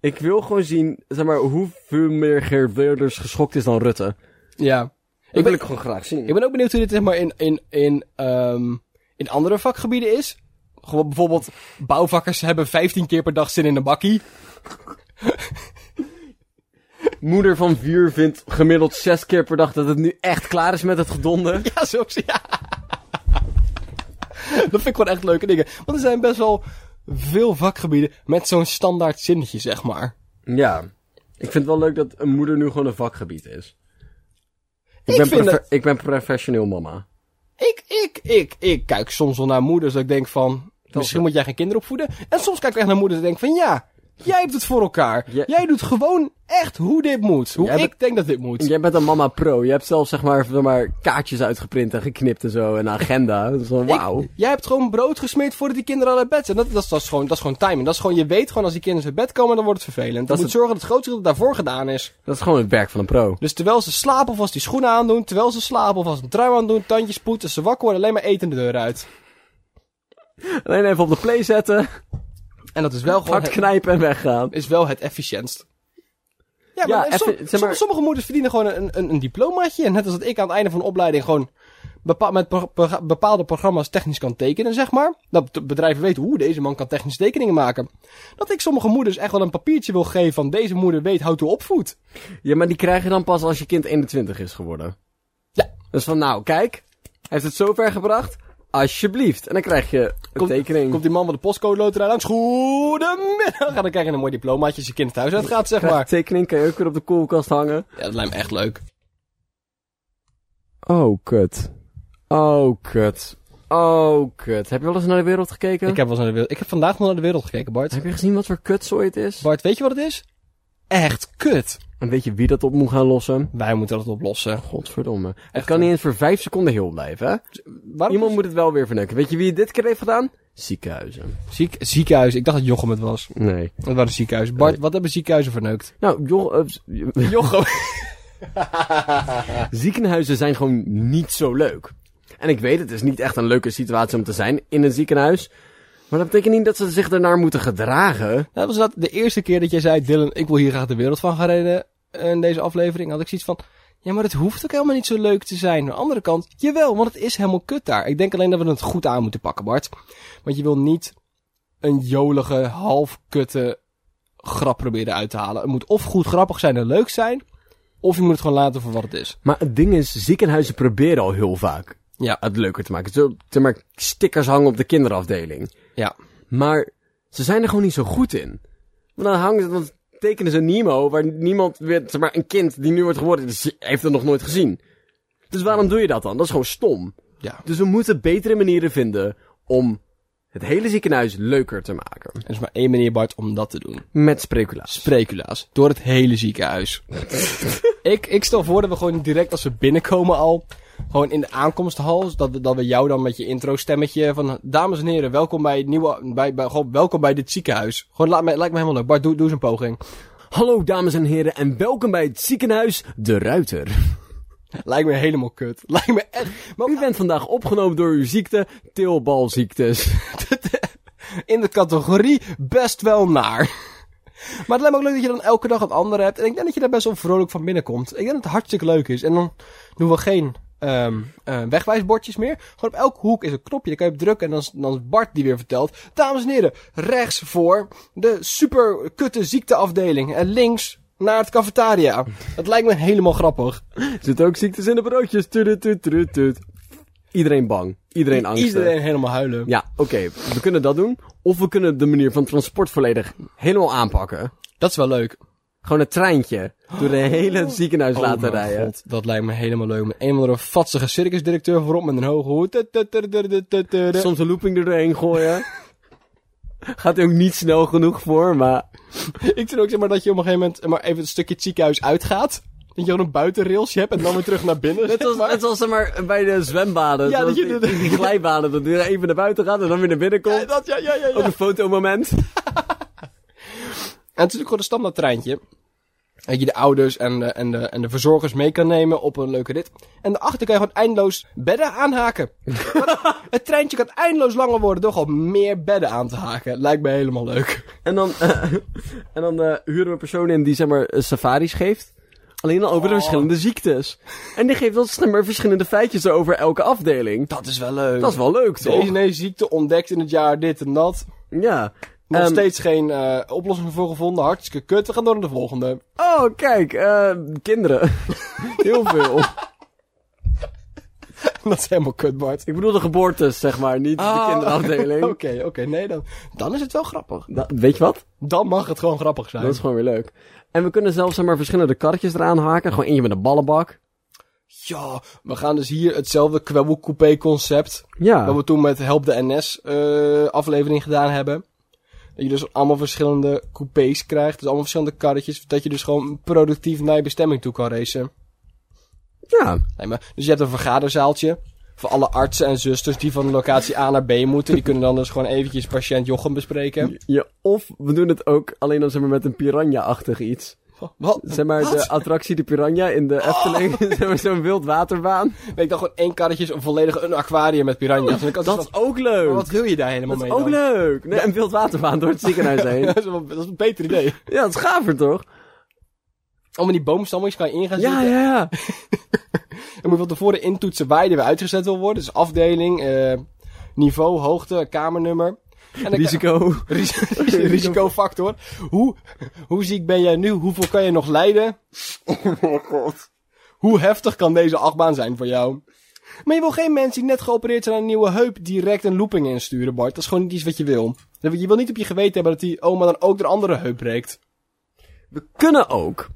[SPEAKER 1] Ik wil gewoon zien, zeg maar, hoeveel meer Geert Wilders geschokt is dan Rutte.
[SPEAKER 2] Ja.
[SPEAKER 1] Dat
[SPEAKER 2] ben-
[SPEAKER 1] wil ik gewoon graag zien.
[SPEAKER 2] Ik ben ook benieuwd hoe dit zeg maar, in, in, in, ehm, in andere vakgebieden is. Gewoon bijvoorbeeld, bouwvakkers hebben 15 keer per dag zin in een bakkie.
[SPEAKER 1] Moeder van Vier vindt gemiddeld zes keer per dag dat het nu echt klaar is met het gedonde.
[SPEAKER 2] *laughs* Ja, zo ja. Dat vind ik gewoon echt leuke dingen. Want er zijn best wel veel vakgebieden met zo'n standaard zinnetje, zeg maar.
[SPEAKER 1] Ja. Ik vind het wel leuk dat een moeder nu gewoon een vakgebied is. Ik,
[SPEAKER 2] Ik
[SPEAKER 1] ben,
[SPEAKER 2] vind
[SPEAKER 1] profe-
[SPEAKER 2] het-
[SPEAKER 1] ik ben professioneel mama.
[SPEAKER 2] Ik, ik, ik, ik kijk soms wel naar moeders dat ik denk van... Misschien moet jij geen kinderen opvoeden. En soms kijk ik echt naar moeders en denk van ja, jij hebt het voor elkaar.
[SPEAKER 1] Ja.
[SPEAKER 2] Jij doet gewoon echt hoe dit moet. Hoe
[SPEAKER 1] Jij
[SPEAKER 2] ik
[SPEAKER 1] bent-
[SPEAKER 2] denk dat dit moet.
[SPEAKER 1] Jij bent een mama pro. Je hebt zelfs zeg maar, zeg maar kaartjes uitgeprint en geknipt en zo. En een agenda. Dat is wel
[SPEAKER 2] Ik-
[SPEAKER 1] wauw.
[SPEAKER 2] jij hebt gewoon brood gesmeerd voordat die kinderen al uit bed zijn. Dat, dat, is- dat is gewoon, dat is gewoon timing. Dat is gewoon, je weet gewoon als die kinderen uit bed komen, dan wordt het vervelend. Dat
[SPEAKER 1] Dat
[SPEAKER 2] moet
[SPEAKER 1] is
[SPEAKER 2] zorgen dat het grootste deel daarvoor gedaan is.
[SPEAKER 1] Dat is gewoon het werk van een pro.
[SPEAKER 2] Dus terwijl ze slapen of als die schoenen aandoen, terwijl ze slapen of als een trui aandoen, tandjes poetsen, ze wakker worden, alleen maar eten de deur uit.
[SPEAKER 1] Alleen even op de play zetten.
[SPEAKER 2] En dat is wel gewoon *laughs*
[SPEAKER 1] Hard
[SPEAKER 2] het,
[SPEAKER 1] knijpen en weggaan.
[SPEAKER 2] is wel het efficiënst. Ja, maar,
[SPEAKER 1] Ja,
[SPEAKER 2] eh,
[SPEAKER 1] effi-
[SPEAKER 2] som-
[SPEAKER 1] zeg
[SPEAKER 2] som-
[SPEAKER 1] maar-
[SPEAKER 2] sommige moeders verdienen gewoon een, een, een diplomaatje. En net als dat ik aan het einde van de opleiding gewoon bepa- met pro- pro- bepaalde programma's technisch kan tekenen, zeg maar. Dat de bedrijven weten, hoe deze man kan technisch tekeningen maken. Dat ik sommige moeders echt wel een papiertje wil geven van deze moeder weet hoe to opvoedt.
[SPEAKER 1] Ja, maar die krijg je dan pas als je kind 21 is geworden.
[SPEAKER 2] Ja.
[SPEAKER 1] Dus van, nou, kijk. Hij heeft het zover gebracht. Alsjeblieft. En dan krijg je een tekening.
[SPEAKER 2] Komt die man van de postcode loterij langs. Goedemiddag. En dan krijg je een mooi diplomaatje als je kind thuis uitgaat, zeg
[SPEAKER 1] Krijg je
[SPEAKER 2] maar.
[SPEAKER 1] een tekening, kan je ook weer op de koelkast hangen.
[SPEAKER 2] Ja, dat lijkt me echt leuk.
[SPEAKER 1] Oh, kut. Oh, kut. Oh, kut. Heb je wel eens naar de wereld gekeken?
[SPEAKER 2] Ik heb, wel eens naar de wereld, ik heb vandaag nog naar de wereld gekeken, Bart.
[SPEAKER 1] Heb je gezien wat voor kutzooi het is?
[SPEAKER 2] Bart, weet je wat het is? Echt kut.
[SPEAKER 1] En weet je wie dat op moet gaan lossen?
[SPEAKER 2] Wij moeten dat oplossen.
[SPEAKER 1] Godverdomme. Het kan niet eens voor vijf seconden heel blijven, hè?
[SPEAKER 2] Oh, Waarom
[SPEAKER 1] Iemand moet het wel weer verneuken. Weet je wie het dit keer heeft gedaan? Ziekenhuizen.
[SPEAKER 2] Ziek, ziekenhuis. Ik dacht dat Jochem het was.
[SPEAKER 1] Nee.
[SPEAKER 2] Dat waren ziekenhuizen. Bart, wat hebben ziekenhuizen verneukt?
[SPEAKER 1] Nou, joh, eh,
[SPEAKER 2] Jochem.
[SPEAKER 1] ziekenhuizen zijn gewoon niet zo leuk. En ik weet, het is niet echt een leuke situatie om te zijn in een ziekenhuis. Maar dat betekent niet dat ze zich ernaar moeten gedragen.
[SPEAKER 2] Nou, Dat was dat de eerste keer dat jij zei, Dylan, ik wil hier graag de wereld van gaan redden. eh, In deze aflevering had ik zoiets van, ja, maar het hoeft ook helemaal niet zo leuk te zijn. Aan de andere kant, jawel, want het is helemaal kut daar. Ik denk alleen dat we het goed aan moeten pakken, Bart. Want je wil niet een jolige, halfkutte grap proberen uit te halen. Het moet of goed grappig zijn en leuk zijn, of je moet het gewoon laten voor wat het is.
[SPEAKER 1] Maar het ding is, ziekenhuizen proberen al heel vaak
[SPEAKER 2] Ja. eh,
[SPEAKER 1] het leuker te maken. Zo, zeg maar, stickers hangen op de kinderafdeling.
[SPEAKER 2] Ja.
[SPEAKER 1] Maar ze zijn er gewoon niet zo goed in. Want dan hangen ze, dan tekenen ze Nemo, waar niemand weer, zeg maar, een kind die nu wordt geboren, die heeft het nog nooit gezien. Dus waarom doe je dat dan? Dat is gewoon stom.
[SPEAKER 2] Ja.
[SPEAKER 1] Dus we moeten betere manieren vinden om het hele ziekenhuis leuker te maken.
[SPEAKER 2] Er is maar één manier, Bart, om dat te doen.
[SPEAKER 1] Met spreekulaas.
[SPEAKER 2] Sprecula's. Door het hele ziekenhuis. ik, ik stel voor dat we gewoon direct als we binnenkomen al... Gewoon in de aankomsthal, dat we, dat we jou dan met je intro-stemmetje van... Dames en heren, welkom bij het nieuwe... Bij, bij, gewoon, welkom bij dit ziekenhuis. Gewoon, laat me, lijkt me helemaal leuk. Bart, doe, doe eens een poging.
[SPEAKER 1] Hallo dames en heren en welkom bij het ziekenhuis De Ruiter.
[SPEAKER 2] Lijkt me helemaal kut. Lijkt me echt... Maar
[SPEAKER 1] U bent vandaag opgenomen door uw ziekte, teelbalziektes.
[SPEAKER 2] in de categorie best wel naar. *laughs* Maar het lijkt me ook leuk dat je dan elke dag een andere hebt. En ik denk dat je daar best wel vrolijk van binnenkomt. Ik denk dat het hartstikke leuk is. En dan doen we geen ehm eh, wegwijsbordjes meer. Gewoon op elke hoek is een knopje. Daar kan je op drukken. En dan is, dan is Bart die weer vertelt. Dames en heren, rechts voor de super kutte ziekteafdeling. En links naar het cafetaria. Dat lijkt me helemaal grappig.
[SPEAKER 1] Zit ook ziektes in de broodjes. Tudu, tudu, tudu, tudu. iedereen bang. Iedereen angstig.
[SPEAKER 2] Iedereen helemaal huilen.
[SPEAKER 1] Ja, oké. We kunnen dat doen. Of we kunnen de manier van transport volledig helemaal aanpakken.
[SPEAKER 2] Dat is wel leuk.
[SPEAKER 1] Gewoon het treintje door de hele ziekenhuis laten
[SPEAKER 2] Oh mijn
[SPEAKER 1] rijden.
[SPEAKER 2] god, dat lijkt me helemaal leuk. Met een of andere vatsige circusdirecteur voorop met een hoge hoed. Tut, tut, tut, tut, tut, tut, tut.
[SPEAKER 1] Soms een looping er doorheen gooien. Gaat hij ook niet snel genoeg voor, maar...
[SPEAKER 2] Ik vind ook zeg maar dat je op een gegeven moment maar even een stukje het ziekenhuis uitgaat. Dat je gewoon een buitenrailsje hebt en dan weer terug naar *laughs* binnen.
[SPEAKER 1] Net zoals,
[SPEAKER 2] zeg maar.
[SPEAKER 1] net zoals zeg maar, bij de zwembaden.
[SPEAKER 2] Ja,
[SPEAKER 1] zoals
[SPEAKER 2] dat je-
[SPEAKER 1] die, die glijbanen. Dat je even naar buiten gaat en dan weer naar binnen komt.
[SPEAKER 2] Ja, dat, ja, ja, ja, ja.
[SPEAKER 1] Ook een fotomoment.
[SPEAKER 2] En het is natuurlijk gewoon een standaard treintje. Dat je de ouders en de, en, de, en de verzorgers mee kan nemen op een leuke rit. En daarachter kan je gewoon eindeloos bedden *laughs* aanhaken. Want het treintje kan eindeloos langer worden door gewoon meer bedden aan te haken. Lijkt me helemaal leuk.
[SPEAKER 1] En dan, *laughs* eh, en dan eh, huren we een persoon in die zeg maar eh, safaris geeft. Alleen al over de
[SPEAKER 2] Oh.
[SPEAKER 1] verschillende ziektes. En die geeft ons zeg maar, verschillende feitjes over elke afdeling.
[SPEAKER 2] Dat is wel leuk.
[SPEAKER 1] Dat is wel leuk, toch?
[SPEAKER 2] Deze nee, ziekte ontdekt in het jaar dit en dat.
[SPEAKER 1] Ja.
[SPEAKER 2] Nog
[SPEAKER 1] Ehm,
[SPEAKER 2] steeds geen eh, oplossing voor gevonden. Hartstikke kut. We gaan door naar de volgende. *laughs*
[SPEAKER 1] Oh, kijk. eh, kinderen. *laughs* Heel veel.
[SPEAKER 2] dat is helemaal kut, Bart.
[SPEAKER 1] Ik bedoel de geboortes, zeg maar. Niet de
[SPEAKER 2] Ah.
[SPEAKER 1] kinderafdeling.
[SPEAKER 2] Oké, *laughs* oké. nee, dan, dan is het wel grappig.
[SPEAKER 1] Da- weet je wat?
[SPEAKER 2] Dan mag het gewoon grappig zijn.
[SPEAKER 1] Dat is gewoon weer leuk. En we kunnen zelfs zeg maar, verschillende karretjes eraan haken. Gewoon eentje met een ballenbak.
[SPEAKER 2] Ja, we gaan dus hier hetzelfde kwebbelcoupé concept. Dat
[SPEAKER 1] Ja.
[SPEAKER 2] we toen met Help de NS eh, aflevering gedaan hebben. Dat je dus allemaal verschillende coupés krijgt. Dus allemaal verschillende karretjes. Dat je dus gewoon productief naar je bestemming toe kan racen.
[SPEAKER 1] Ja.
[SPEAKER 2] Nee, maar, dus je hebt een vergaderzaaltje. Voor alle artsen en zusters die van locatie A naar B moeten. Die kunnen dan dus gewoon eventjes patiënt Jochem bespreken.
[SPEAKER 1] Ja, Of we doen het ook alleen dan zeg maar, met een piranha-achtig iets.
[SPEAKER 2] Wat? Oh.
[SPEAKER 1] Zeg maar de attractie de Piranha in de Efteling. *laughs* zeg maar zo'n wildwaterbaan.
[SPEAKER 2] Ik dacht gewoon één karretje is een volledig een aquarium met piranha's. En ik had
[SPEAKER 1] Dat
[SPEAKER 2] zoiets
[SPEAKER 1] is ook
[SPEAKER 2] van,
[SPEAKER 1] leuk.
[SPEAKER 2] wat wil je daar helemaal
[SPEAKER 1] Dat is
[SPEAKER 2] mee
[SPEAKER 1] ook
[SPEAKER 2] dan?
[SPEAKER 1] leuk. Nee, een wildwaterbaan door het ziekenhuis
[SPEAKER 2] *laughs*
[SPEAKER 1] heen.
[SPEAKER 2] dat, is wel- dat is een beter idee.
[SPEAKER 1] Ja, dat is gaver toch?
[SPEAKER 2] Om in die boomstammetjes kan je ingaan
[SPEAKER 1] Ja,
[SPEAKER 2] zitten.
[SPEAKER 1] ja, ja.
[SPEAKER 2] Dan moet je van tevoren intoetsen waar je er weer uitgezet wil worden. Dus afdeling, eh, niveau, hoogte, kamernummer. En dan-
[SPEAKER 1] Risico.
[SPEAKER 2] Ris- *laughs* risicofactor. Hoe, hoe ziek ben jij nu? Hoeveel kan je nog lijden?
[SPEAKER 1] *laughs*
[SPEAKER 2] Oh, Hoe heftig kan deze achtbaan zijn voor jou? Maar je wil geen mensen die net geopereerd zijn aan een nieuwe heup direct een looping insturen, Bart. Dat is gewoon niet iets wat je wil. Je wil niet op je geweten hebben dat die oma dan ook de andere heup breekt.
[SPEAKER 1] We kunnen ook.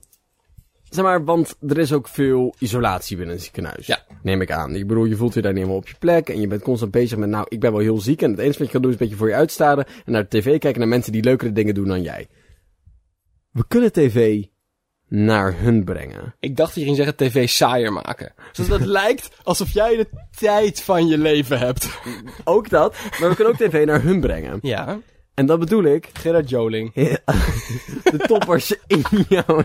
[SPEAKER 1] Zeg maar, want er is ook veel isolatie binnen een ziekenhuis.
[SPEAKER 2] Ja.
[SPEAKER 1] Neem ik aan. Ik bedoel, je voelt je daar niet helemaal op je plek. En je bent constant bezig met, nou, ik ben wel heel ziek. En het enige wat je kan doen is een beetje voor je uitstaren. En naar de tv kijken naar mensen die leukere dingen doen dan jij. We kunnen tv naar hun brengen.
[SPEAKER 2] Ik dacht dat je ging zeggen tv saaier maken. Zodat *laughs* het lijkt alsof jij de tijd van je leven hebt.
[SPEAKER 1] Ook dat. Maar we kunnen ook tv naar hun brengen.
[SPEAKER 2] Ja.
[SPEAKER 1] En dat bedoel ik. *laughs*
[SPEAKER 2] Gerard Joling.
[SPEAKER 1] De toppers in jou.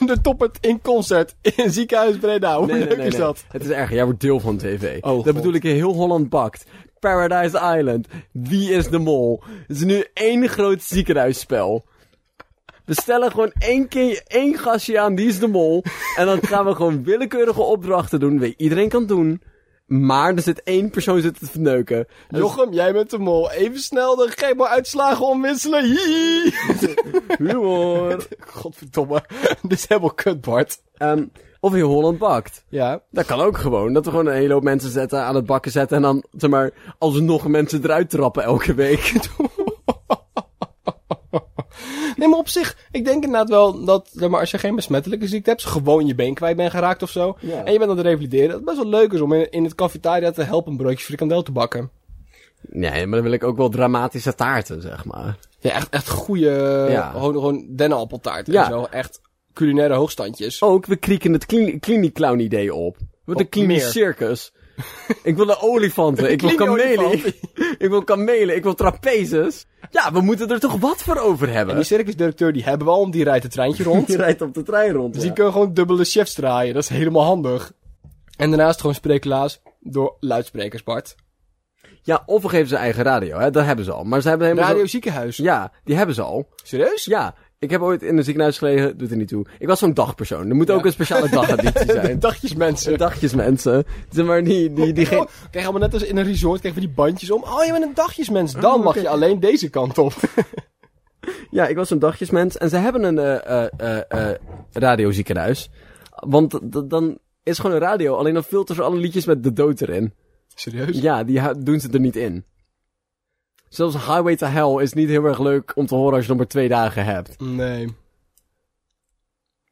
[SPEAKER 2] De toppert in concert in ziekenhuis Breda. Hoe leuk is dat?
[SPEAKER 1] Het is erg. Jij wordt deel van tv.
[SPEAKER 2] Oh,
[SPEAKER 1] dat
[SPEAKER 2] God.
[SPEAKER 1] bedoel ik in heel Holland bakt. Paradise Island. Wie is de mol? Het is nu één groot ziekenhuisspel. We stellen gewoon één, keer, één gastje aan, die is de mol. En dan gaan we gewoon willekeurige opdrachten doen. Weet je, iedereen kan doen. Maar er zit één persoon zit te
[SPEAKER 2] *laughs*
[SPEAKER 1] verneuken.
[SPEAKER 2] Jochem, jij bent de mol. Even snel de gemo uitslagen omwisselen. Hihi. *laughs*
[SPEAKER 1] Humor.
[SPEAKER 2] Godverdomme. Dit is helemaal kut, Bart.
[SPEAKER 1] Ehm, of in Holland bakt.
[SPEAKER 2] Ja.
[SPEAKER 1] Dat kan ook gewoon. Dat we gewoon een hele hoop mensen zetten, aan het bakken zetten. En dan, zeg maar, alsnog mensen eruit trappen elke week.
[SPEAKER 2] *laughs* Nee, maar op zich, ik denk inderdaad wel dat, zeg maar, als je geen besmettelijke ziekte hebt, gewoon je been kwijt bent geraakt of zo,
[SPEAKER 1] Ja.
[SPEAKER 2] en je bent aan het revalideren, dat het best wel leuk is om in, in het cafetaria te helpen een broodje frikandel te bakken.
[SPEAKER 1] Nee, maar dan wil ik ook wel dramatische taarten, zeg maar.
[SPEAKER 2] Ja, echt, echt goede,
[SPEAKER 1] Ja.
[SPEAKER 2] gewoon, gewoon dennenappeltaart en
[SPEAKER 1] Ja.
[SPEAKER 2] zo. Echt culinaire hoogstandjes.
[SPEAKER 1] Ook, we krieken het klini- kliniclown idee op. Wat een
[SPEAKER 2] Op
[SPEAKER 1] klinisch
[SPEAKER 2] meer.
[SPEAKER 1] circus. ik wil de olifanten, ik wil kamelen,
[SPEAKER 2] Kliniolifant.
[SPEAKER 1] ik wil kamelen, ik wil trapezes. Ja, we moeten er toch wat voor over
[SPEAKER 2] En
[SPEAKER 1] hebben.
[SPEAKER 2] die circusdirecteur die hebben we al, want die rijdt het treintje *laughs*
[SPEAKER 1] *laughs*
[SPEAKER 2] rond.
[SPEAKER 1] Die rijdt op de trein rond.
[SPEAKER 2] Dus
[SPEAKER 1] ja.
[SPEAKER 2] die kunnen gewoon dubbele chefs draaien. Dat is helemaal handig. En daarnaast gewoon sprekelaars door luidsprekers, Bart.
[SPEAKER 1] Ja, of we geven ze eigen radio, hè? dat hebben ze al. Maar ze hebben helemaal
[SPEAKER 2] Radio
[SPEAKER 1] zo-
[SPEAKER 2] ziekenhuis.
[SPEAKER 1] Ja, die hebben ze al.
[SPEAKER 2] Serieus?
[SPEAKER 1] Ja, ik heb ooit in een ziekenhuis gelegen, doet er niet toe. Ik was zo'n dagpersoon, er moet ook een speciale dageditie
[SPEAKER 2] *laughs*
[SPEAKER 1] zijn.
[SPEAKER 2] Dagjes mensen.
[SPEAKER 1] Dagjes mensen. Zeg maar, die, die, die, geen-
[SPEAKER 2] Oh, krijg allemaal net als in een resort, krijgen we die bandjes om. Oh, je bent een dagjesmens. Dan mag je alleen deze kant op.
[SPEAKER 1] Ja, ik was een dagjesmens. En ze hebben een eh eh eh eh radioziekenhuis. Want d- d- dan is gewoon een radio. Alleen dan filteren ze alle liedjes met de dood erin.
[SPEAKER 2] *laughs* Serieus?
[SPEAKER 1] Ja, die ha- doen ze er niet in. Zelfs Highway to Hell is niet heel erg leuk om te horen als je nog maar twee dagen hebt.
[SPEAKER 2] Nee.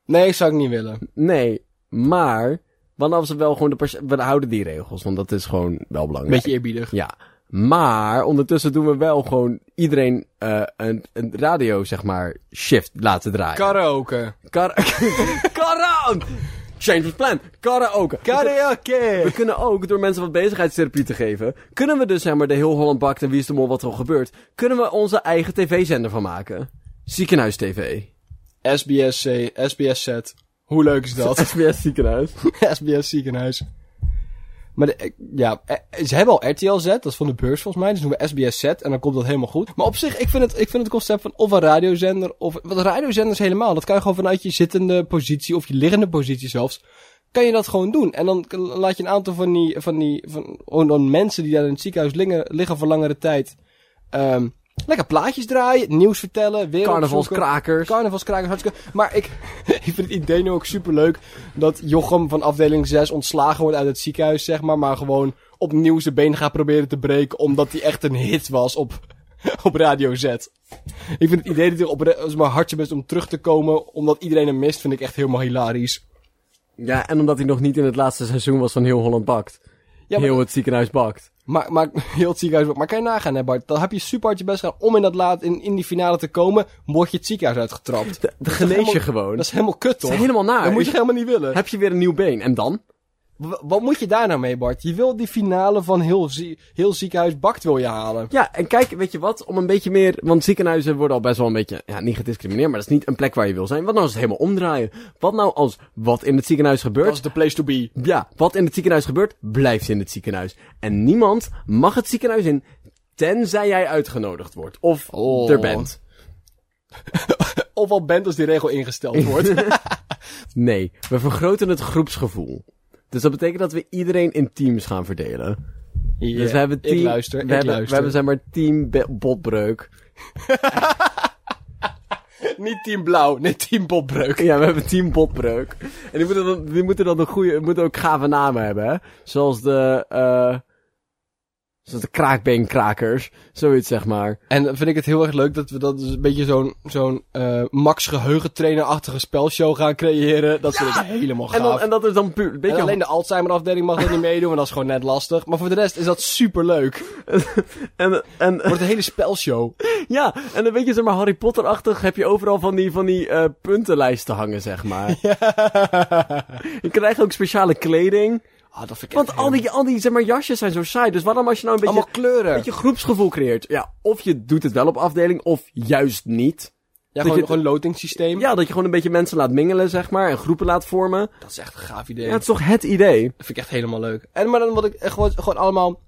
[SPEAKER 2] Nee, zou ik niet willen.
[SPEAKER 1] Nee, maar... Wanneer ze wel gewoon de pers- We houden die regels, want dat is gewoon wel belangrijk.
[SPEAKER 2] Beetje eerbiedig.
[SPEAKER 1] Ja. Maar ondertussen doen we wel gewoon iedereen eh, een, een radio, zeg maar, shift laten draaien.
[SPEAKER 2] Karaoke.
[SPEAKER 1] Kar... *laughs* Karan! Change of plan. Karaoke. We
[SPEAKER 2] *laughs* Karaoke!
[SPEAKER 1] kunnen ook, door mensen wat bezigheidstherapie te geven, kunnen we dus zeg maar de heel Holland bakt en wie is de mol wat er al gebeurt, kunnen we onze eigen tv-zender van maken. Ziekenhuis TV.
[SPEAKER 2] SBSC, SBSZ. Hoe leuk is *laughs* dat?
[SPEAKER 1] SBS *laughs* Ziekenhuis.
[SPEAKER 2] *laughs* SBS ziekenhuis. Maar de- eh, ja, eh, ze hebben al RTL Z, dat is van de beurs volgens mij. Dus doen we SBS Z en dan komt dat helemaal goed. Maar op zich, ik vind het, ik vind het concept van of een radiozender of... Want radiozenders helemaal, dat kan je gewoon vanuit je zittende positie of je liggende positie zelfs. Kan je dat gewoon doen. En dan k- laat je een aantal van die, van die van, gewoon dan mensen die daar in het ziekenhuis liggen, liggen voor langere tijd... ehm, lekker plaatjes draaien, nieuws vertellen, weer opzoeken.
[SPEAKER 1] Carnavalskrakers.
[SPEAKER 2] Carnavalskrakers, hartstikke... Maar ik, *laughs* ik vind het idee nu ook superleuk dat Jochem van afdeling 6 ontslagen wordt uit het ziekenhuis, zeg maar. Maar gewoon opnieuw zijn been gaat proberen te breken omdat hij echt een hit was op, *laughs* op Radio Z. Ik vind het idee dat hij op ra- zeg maar hard zijn best om terug te komen omdat iedereen hem mist, vind ik echt helemaal hilarisch.
[SPEAKER 1] ja, en omdat hij nog niet in het laatste seizoen was van heel Holland bakt.
[SPEAKER 2] Ja, maar-
[SPEAKER 1] Heel het ziekenhuis bakt.
[SPEAKER 2] Maar, maar *laughs* heel het ziekenhuis wordt. Maar kan je nagaan, hè Bart? Dan heb je super hard je best gedaan om in, dat laat, in, in die finale te komen, word je het ziekenhuis uitgetrapt.
[SPEAKER 1] De, de genees je
[SPEAKER 2] helemaal-
[SPEAKER 1] gewoon.
[SPEAKER 2] Dat is helemaal kut,
[SPEAKER 1] Dat
[SPEAKER 2] toch?
[SPEAKER 1] is helemaal naar.
[SPEAKER 2] Dat moet je
[SPEAKER 1] Is-
[SPEAKER 2] helemaal niet willen.
[SPEAKER 1] Heb je weer een nieuw been? En dan?
[SPEAKER 2] W- Wat moet je daar nou mee, Bart? Je wil die finale van heel, zie- heel ziekenhuis bakt wil je halen.
[SPEAKER 1] Ja, en kijk, weet je wat? Om een beetje meer. Want ziekenhuizen worden al best wel een beetje. Ja, niet gediscrimineerd, maar dat is niet een plek waar je wil zijn. Wat nou als het helemaal omdraaien? Wat nou als wat in het ziekenhuis
[SPEAKER 2] Dat
[SPEAKER 1] gebeurt?
[SPEAKER 2] is de place to be.
[SPEAKER 1] Ja, wat in het ziekenhuis gebeurt, blijft in het ziekenhuis. En niemand mag het ziekenhuis in. Tenzij jij uitgenodigd wordt. Of
[SPEAKER 2] Oh.
[SPEAKER 1] er bent.
[SPEAKER 2] Of al bent als die regel
[SPEAKER 1] *laughs*
[SPEAKER 2] ingesteld wordt.
[SPEAKER 1] Dus Nee, we vergroten het groepsgevoel. Dus dat betekent dat we iedereen in teams gaan verdelen. dus we hebben team.
[SPEAKER 2] Ik luister,
[SPEAKER 1] we
[SPEAKER 2] ik
[SPEAKER 1] hebben,
[SPEAKER 2] luister.
[SPEAKER 1] We hebben zeg maar team Be- botbreuk.
[SPEAKER 2] Niet team blauw, nee team Bobbreuk.
[SPEAKER 1] Ja, we hebben team botbreuk. En die moeten dan, die moeten dan een goede, moeten ook gave namen hebben, hè? Zoals de, eh zoals de kraakbeenkrakers. Zoiets, zeg maar.
[SPEAKER 2] En dan vind ik het heel erg leuk dat we dat dus een beetje zo'n zo'n eh, Max geheugentrainer-achtige spelshow gaan creëren. Dat vind ik helemaal gaaf.
[SPEAKER 1] En, dan, en dat is dan puur, een beetje,
[SPEAKER 2] En alleen de Alzheimer afdeling mag dat niet meedoen, want dat is gewoon net lastig. Maar voor de rest is dat superleuk.
[SPEAKER 1] en, en, *laughs*
[SPEAKER 2] Wordt een hele spelshow.
[SPEAKER 1] ja, en een beetje, zeg maar, Harry Potter-achtig heb je overal van die, van die eh puntenlijsten hangen, zeg
[SPEAKER 2] *laughs*
[SPEAKER 1] maar. Je krijgt ook speciale kleding.
[SPEAKER 2] Ah, dat vind ik
[SPEAKER 1] Want
[SPEAKER 2] echt
[SPEAKER 1] al die, al die, zeg maar, jasjes zijn zo saai. Dus waarom als je nou een beetje...
[SPEAKER 2] Allemaal kleuren.
[SPEAKER 1] Dat je groepsgevoel creëert. Ja, of je doet het wel op afdeling, of juist niet.
[SPEAKER 2] ja,
[SPEAKER 1] dat
[SPEAKER 2] gewoon,
[SPEAKER 1] je-
[SPEAKER 2] gewoon lotingssysteem.
[SPEAKER 1] Ja, dat je gewoon een beetje mensen laat mingelen, zeg maar, en groepen laat vormen.
[SPEAKER 2] Dat is echt een gaaf idee.
[SPEAKER 1] Ja, dat is toch het idee?
[SPEAKER 2] Dat vind ik echt helemaal leuk. En maar dan wat ik eh, gewoon, gewoon allemaal.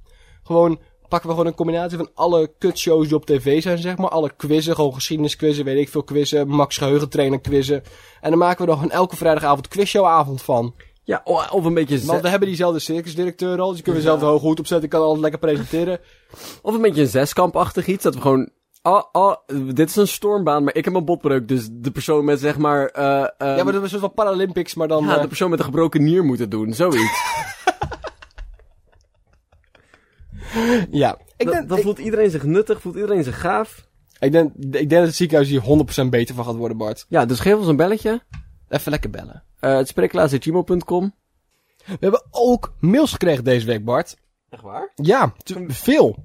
[SPEAKER 2] Gewoon pakken we gewoon een combinatie van alle kutshows die op tv zijn, zeg maar. Alle quizzen, gewoon geschiedenisquizzen, weet ik veel quizzen. Max geheugentrainer quizzen. En dan maken we er gewoon elke vrijdagavond quizshowavond van.
[SPEAKER 1] Ja, o- of een beetje,
[SPEAKER 2] Want
[SPEAKER 1] ze-
[SPEAKER 2] we hebben diezelfde circusdirecteur al, dus die kunnen we zelf er hoog goed opzetten. Ik kan alles lekker presenteren.
[SPEAKER 1] of een beetje een zeskampachtig iets. Dat we gewoon, ah, ah, dit is een stormbaan, maar ik heb een botbreuk. Dus de persoon met, zeg maar, eh eh,
[SPEAKER 2] ja, maar dat is een soort van Paralympics, maar dan...
[SPEAKER 1] ja,
[SPEAKER 2] eh,
[SPEAKER 1] de persoon met een gebroken nier moeten doen. *laughs* Zoiets.
[SPEAKER 2] ja. Ik
[SPEAKER 1] Dan-
[SPEAKER 2] denk,
[SPEAKER 1] dan
[SPEAKER 2] ik,
[SPEAKER 1] voelt iedereen zich nuttig, voelt iedereen zich gaaf.
[SPEAKER 2] ik denk, ik denk dat het ziekenhuis hier 100% beter van gaat worden, Bart.
[SPEAKER 1] Ja, dus geef ons een belletje.
[SPEAKER 2] Even lekker bellen.
[SPEAKER 1] Eh het spreeklaas.gmail.com
[SPEAKER 2] We hebben ook mails gekregen deze week, Bart.
[SPEAKER 1] Echt waar?
[SPEAKER 2] Ja, te- veel.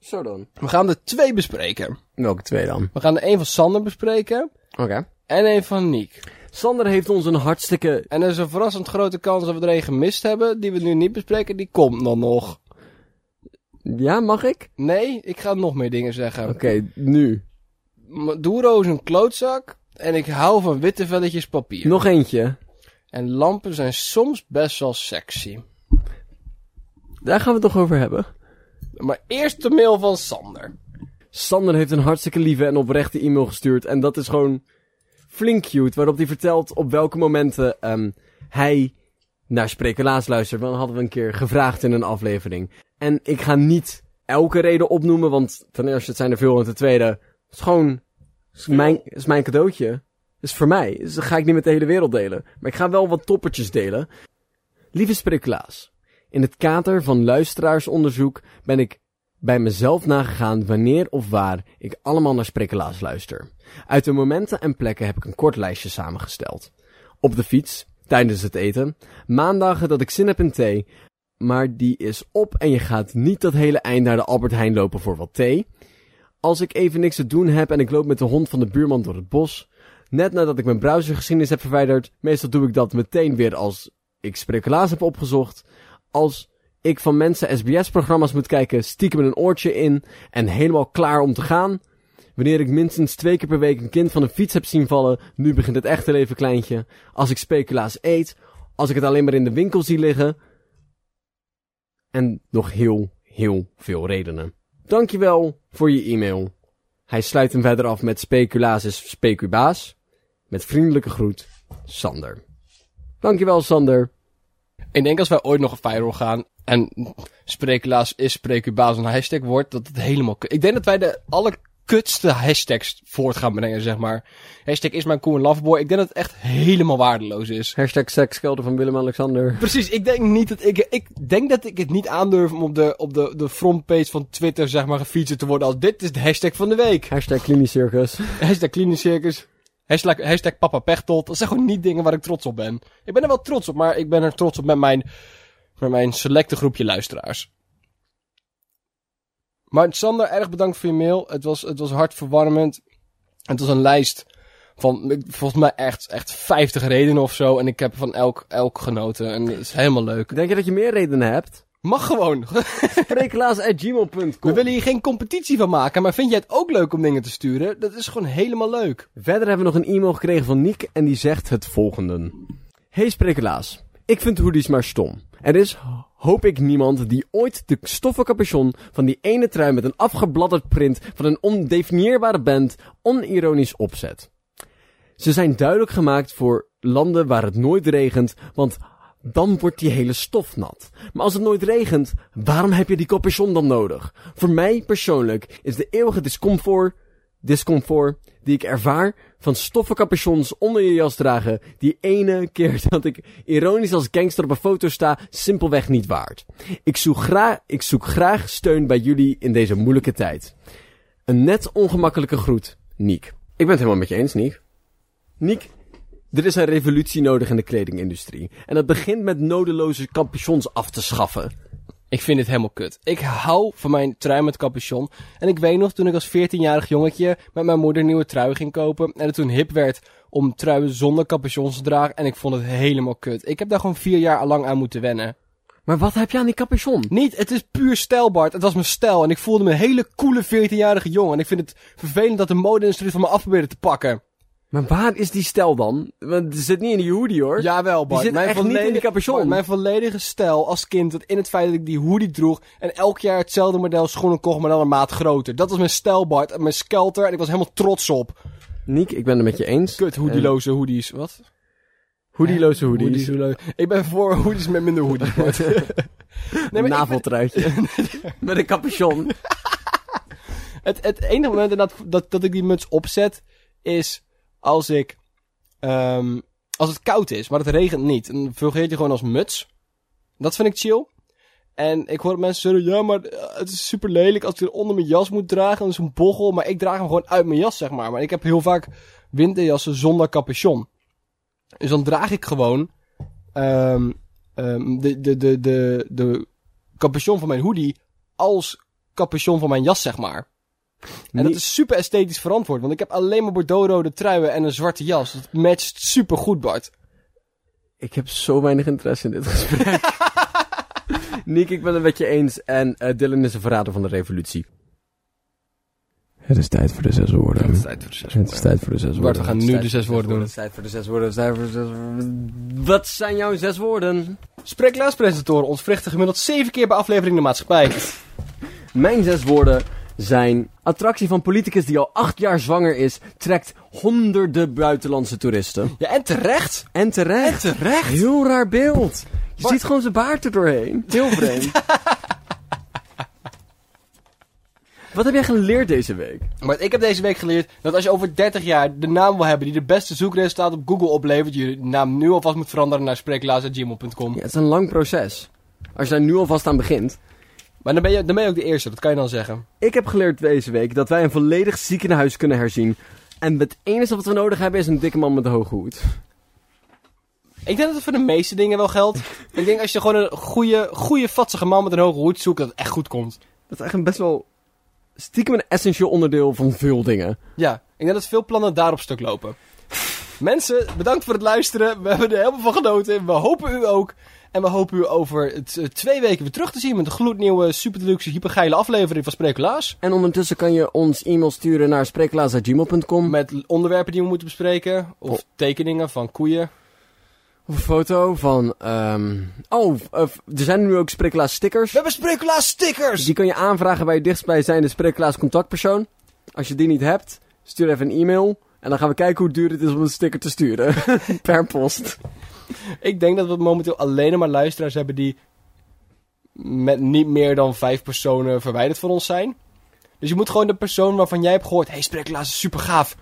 [SPEAKER 1] Zo dan.
[SPEAKER 2] We gaan er twee bespreken.
[SPEAKER 1] Welke twee dan?
[SPEAKER 2] We gaan er één van Sander bespreken
[SPEAKER 1] Oké.
[SPEAKER 2] en één van Niek.
[SPEAKER 1] Sander heeft ons een hartstikke
[SPEAKER 2] En er is een verrassend grote kans dat we er één gemist hebben, die we nu niet bespreken, die komt dan nog.
[SPEAKER 1] Ja, mag ik?
[SPEAKER 2] Nee, ik ga nog meer dingen zeggen.
[SPEAKER 1] Oké, nu.
[SPEAKER 2] Maduro is een klootzak en ik hou van witte velletjes papier.
[SPEAKER 1] Nog eentje.
[SPEAKER 2] En lampen zijn soms best wel sexy.
[SPEAKER 1] Daar gaan we het toch over hebben.
[SPEAKER 2] Maar eerst de mail van Sander.
[SPEAKER 1] Sander heeft een hartstikke lieve en oprechte e-mail gestuurd. En dat is gewoon flink cute. Waarop hij vertelt op welke momenten ehm, hij naar Sprekelaars luistert. Want dat hadden we een keer gevraagd in een aflevering. En ik ga niet elke reden opnoemen. Want ten eerste, het zijn er veel. En ten tweede, het is gewoon... Is mijn, is mijn cadeautje. Is voor mij. Dus dat ga ik niet met de hele wereld delen. Maar ik ga wel wat toppertjes delen. Lieve Sprikkelaas, in het kader van luisteraarsonderzoek ben ik bij mezelf nagegaan wanneer of waar ik allemaal naar Sprikkelaas luister. Uit de momenten en plekken heb ik een kort lijstje samengesteld. Op de fiets, tijdens het eten, maandagen dat ik zin heb in thee, maar die is op en je gaat niet dat hele eind naar de Albert Heijn lopen voor wat thee. Als ik even niks te doen heb en ik loop met de hond van de buurman door het bos, net nadat ik mijn browsergeschiedenis heb verwijderd, meestal doe ik dat meteen weer als ik speculaas heb opgezocht, als ik van mensen SBS-programma's moet kijken, stiekem een oortje in en helemaal klaar om te gaan. Wanneer ik minstens twee keer per week een kind van een fiets heb zien vallen, nu begint het echte leven kleintje. Als ik speculaas eet, als ik het alleen maar in de winkel zie liggen. En nog heel, heel veel redenen. Dankjewel voor je e-mail. Hij sluit hem verder af met speculaas is specubaas. Met vriendelijke groet, Sander. Dankjewel, Sander.
[SPEAKER 2] Ik denk als wij ooit nog viral gaan en sprekelaars is spreekubaas een hashtag wordt, dat het helemaal... ku- Ik denk dat wij de allerkutste hashtags voort gaan brengen, zeg maar. Hashtag is mijn cool en loveboy. Ik denk dat het echt helemaal waardeloos is.
[SPEAKER 1] Hashtag sekskelder van Willem-Alexander.
[SPEAKER 2] Precies, ik denk niet dat ik... Ik denk dat ik het niet aandurf om op de, op de, de frontpage van Twitter, zeg maar, gefeatured te worden als dit is de hashtag van de week.
[SPEAKER 1] Hashtag klinisch circus.
[SPEAKER 2] Hashtag klinisch circus. Hashtag, hashtag papa pechtold. Dat zijn gewoon niet dingen waar ik trots op ben. Ik ben er wel trots op, maar ik ben er trots op met mijn, met mijn selecte groepje luisteraars. Maar Sander, erg bedankt voor je mail. Het was, het was hartverwarmend. Het was een lijst van, ik- volgens mij echt, echt 50 redenen of zo. En ik heb van elk, elk genoten. En het is helemaal leuk.
[SPEAKER 1] Denk je dat je meer redenen hebt?
[SPEAKER 2] Mag gewoon. *laughs* We
[SPEAKER 1] Sprekelaas.gmail.com
[SPEAKER 2] willen hier geen competitie van maken. Maar vind jij het ook leuk om dingen te sturen? Dat is gewoon helemaal leuk.
[SPEAKER 1] Verder hebben we nog een e-mail gekregen van Niek en die zegt het volgende. Hey Sprekelaas, ik vind hoodies maar stom. Er is, hoop ik, niemand die ooit de stoffen capuchon van die ene trui met een afgebladderd print van een ondefinieerbare band onironisch opzet. Ze zijn duidelijk gemaakt voor landen waar het nooit regent, want dan wordt die hele stof nat. Maar als het nooit regent, waarom heb je die capuchon dan nodig? Voor mij persoonlijk is de eeuwige discomfort, discomfort die ik ervaar van stoffen capuchons onder je jas dragen, die ene keer *laughs* dat ik ironisch als gangster op een foto sta, simpelweg niet waard. Ik zoek, gra ik zoek graag steun bij jullie in deze moeilijke tijd. Een net ongemakkelijke groet, Niek. Ik ben het helemaal met je eens, Niek. Niek, er is een revolutie nodig in de kledingindustrie. En dat begint met nodeloze capuchons af te schaffen.
[SPEAKER 2] Ik vind dit helemaal kut. Ik hou van mijn trui met capuchon. En ik weet nog toen ik als 14-jarig jongetje met mijn moeder een nieuwe trui ging kopen. En het toen hip werd om truien zonder capuchons te dragen. En ik vond het helemaal kut. Ik heb daar gewoon vier jaar lang aan moeten wennen.
[SPEAKER 1] Maar wat heb je aan die capuchon?
[SPEAKER 2] Niet, het is puur stijl, Bart. Het was mijn stijl. En ik voelde me een hele coole 14-jarige jongen. En ik vind het vervelend dat de mode-industrie van me af probeerde te pakken.
[SPEAKER 1] Maar waar is die stijl dan? Want het zit niet in die hoodie hoor.
[SPEAKER 2] Jawel, Bart.
[SPEAKER 1] zit echt niet in die capuchon.
[SPEAKER 2] Bart, mijn volledige stijl als kind dat in het feit dat ik die hoodie droeg en elk jaar hetzelfde model schoenen kocht, maar dan een maat groter. Dat was mijn stijl, Bart. en Mijn skelter en ik was helemaal trots op.
[SPEAKER 1] Niek, ik ben het met je eens.
[SPEAKER 2] Kut, hoedieloze hoodies. Wat?
[SPEAKER 1] Hoodieloze hoodies.
[SPEAKER 2] Ik ben voor *laughs* hoodies met minder
[SPEAKER 1] *laughs*
[SPEAKER 2] hoodies, Bart.
[SPEAKER 1] Een
[SPEAKER 2] nee, maar ik
[SPEAKER 1] *laughs* naveltruitje. met een capuchon.
[SPEAKER 2] Het, het enige moment inderdaad dat, dat ik die muts opzet, is als ik... ehm, als het koud is, maar het regent niet. Dan fungeert je gewoon als muts. Dat vind ik chill. En ik hoor mensen zeggen, ja, maar eh, het is super lelijk als ik het onder mijn jas moet dragen. Dat is een bochel, maar ik draag hem gewoon uit mijn jas, zeg maar. Maar ik heb heel vaak winterjassen zonder capuchon. Dus dan draag ik gewoon ehm, ehm, de, de, de, de, de capuchon van mijn hoodie als capuchon van mijn jas, zeg maar. En dat is super esthetisch verantwoord, want ik heb alleen maar bordeauxrode truien en een zwarte jas. Dat matcht super goed, Bart.
[SPEAKER 1] Ik heb zo weinig interesse in dit gesprek. *laughs* Niek, ik ben het met je eens. En eh, Dylan is een verrader van de revolutie. Het is tijd voor de zes woorden. Dus Het
[SPEAKER 2] tijd voor zes
[SPEAKER 1] is tijd voor de zes
[SPEAKER 2] Bart, we gaan nu de zes woorden doen.
[SPEAKER 1] Het is tijd voor de zes woorden. Het is tijd voor de zes woorden. Wat zijn jouw zes woorden?
[SPEAKER 2] Spreeklaarspresentatoren ontwrichten gemiddeld zeven keer per aflevering de maatschappij.
[SPEAKER 1] Mijn zes woorden zijn... Attractie van politicus die al acht jaar zwanger is... trekt honderden buitenlandse toeristen.
[SPEAKER 2] Ja, en terecht.
[SPEAKER 1] En terecht.
[SPEAKER 2] Terecht.
[SPEAKER 1] Heel raar beeld. Je
[SPEAKER 2] Bart-
[SPEAKER 1] ziet gewoon
[SPEAKER 2] *laughs*
[SPEAKER 1] zijn baard er doorheen. Heel vreemd. Wat heb jij geleerd deze week?
[SPEAKER 2] Maar ik heb deze week geleerd dat als je over 30 jaar de naam wil hebben die de beste zoekresultaten op Google oplevert, je naam nu alvast moet veranderen naar spreeklaas.gmail.com.
[SPEAKER 1] Ja, het is een lang proces. Als je daar nu alvast aan begint.
[SPEAKER 2] Maar dan ben, je, dan ben je ook de eerste, dat kan je dan zeggen.
[SPEAKER 1] Ik heb geleerd deze week dat wij een volledig ziekenhuis kunnen herzien. En het enige wat we nodig hebben is een dikke man met een hoge hoed.
[SPEAKER 2] Ik denk dat het voor de meeste dingen wel geldt. ik denk als je gewoon een goede, goede vatsige man met een hoge hoed zoekt, dat het echt goed komt.
[SPEAKER 1] Dat is echt een best wel stiekem een essentieel onderdeel van veel dingen.
[SPEAKER 2] Ja, ik denk dat veel plannen daarop stuk lopen. Mensen, bedankt voor het luisteren. We hebben er helemaal van genoten. We hopen u ook. En we hopen u over het, eh, twee weken weer terug te zien met een gloednieuwe, super deluxe, hypergeile aflevering van Sprekelaars.
[SPEAKER 1] En ondertussen kan je ons e-mail sturen naar spreeklaas.gmail.com.
[SPEAKER 2] Met l- onderwerpen die we moeten bespreken. Of
[SPEAKER 1] Oh.
[SPEAKER 2] tekeningen van koeien.
[SPEAKER 1] Of een foto van... ehm, Oh, f- eh, f- er zijn nu ook spreeklaas stickers.
[SPEAKER 2] We hebben Sprekelaars stickers!
[SPEAKER 1] Die kan je aanvragen bij je dichtstbijzijnde spreeklaas contactpersoon. Als je die niet hebt, stuur even een e-mail. En dan gaan we kijken hoe duur het is om een sticker te sturen. *laughs* per post.
[SPEAKER 2] Ik denk dat we momenteel alleen nog maar luisteraars hebben die met niet meer dan vijf personen verwijderd van ons zijn. Dus je moet gewoon de persoon waarvan jij hebt gehoord, hey Sprekelaars is super gaaf.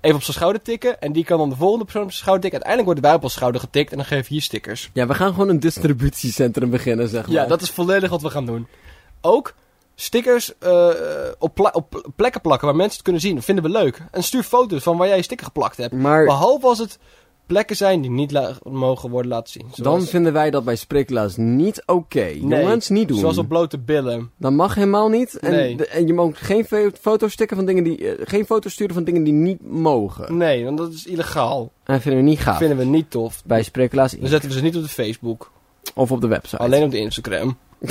[SPEAKER 2] Even op zijn schouder tikken en die kan dan de volgende persoon op zijn schouder tikken. Uiteindelijk worden wij op ons schouder getikt en dan geven we hier stickers.
[SPEAKER 1] Ja, we gaan gewoon een distributiecentrum beginnen, zeg maar.
[SPEAKER 2] Ja, dat is volledig wat we gaan doen. Ook stickers eh, op, pla- op plekken plakken waar mensen het kunnen zien. Dat vinden we leuk. En stuur foto's van waar jij je sticker geplakt hebt.
[SPEAKER 1] Maar
[SPEAKER 2] Behalve als het plekken zijn die niet la- mogen worden laten zien.
[SPEAKER 1] dan vinden wij dat bij spreeklaas niet oké.
[SPEAKER 2] Nee,
[SPEAKER 1] Jongens, niet doen.
[SPEAKER 2] Zoals op blote billen.
[SPEAKER 1] Dat mag helemaal niet. En,
[SPEAKER 2] Nee.
[SPEAKER 1] de- en je mag geen fo- foto's stikken van dingen die... eh, geen foto's sturen van dingen die niet mogen.
[SPEAKER 2] Nee, want dat is illegaal.
[SPEAKER 1] En dat vinden we niet gaaf.
[SPEAKER 2] Dat vinden we niet tof.
[SPEAKER 1] Bij spreeklaas
[SPEAKER 2] Dan zetten we ze niet op de Facebook.
[SPEAKER 1] of op de website.
[SPEAKER 2] Alleen op de Instagram. *laughs*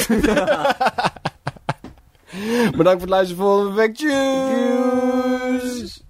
[SPEAKER 2] Bedankt voor het luisteren. Volgende week. Tjus.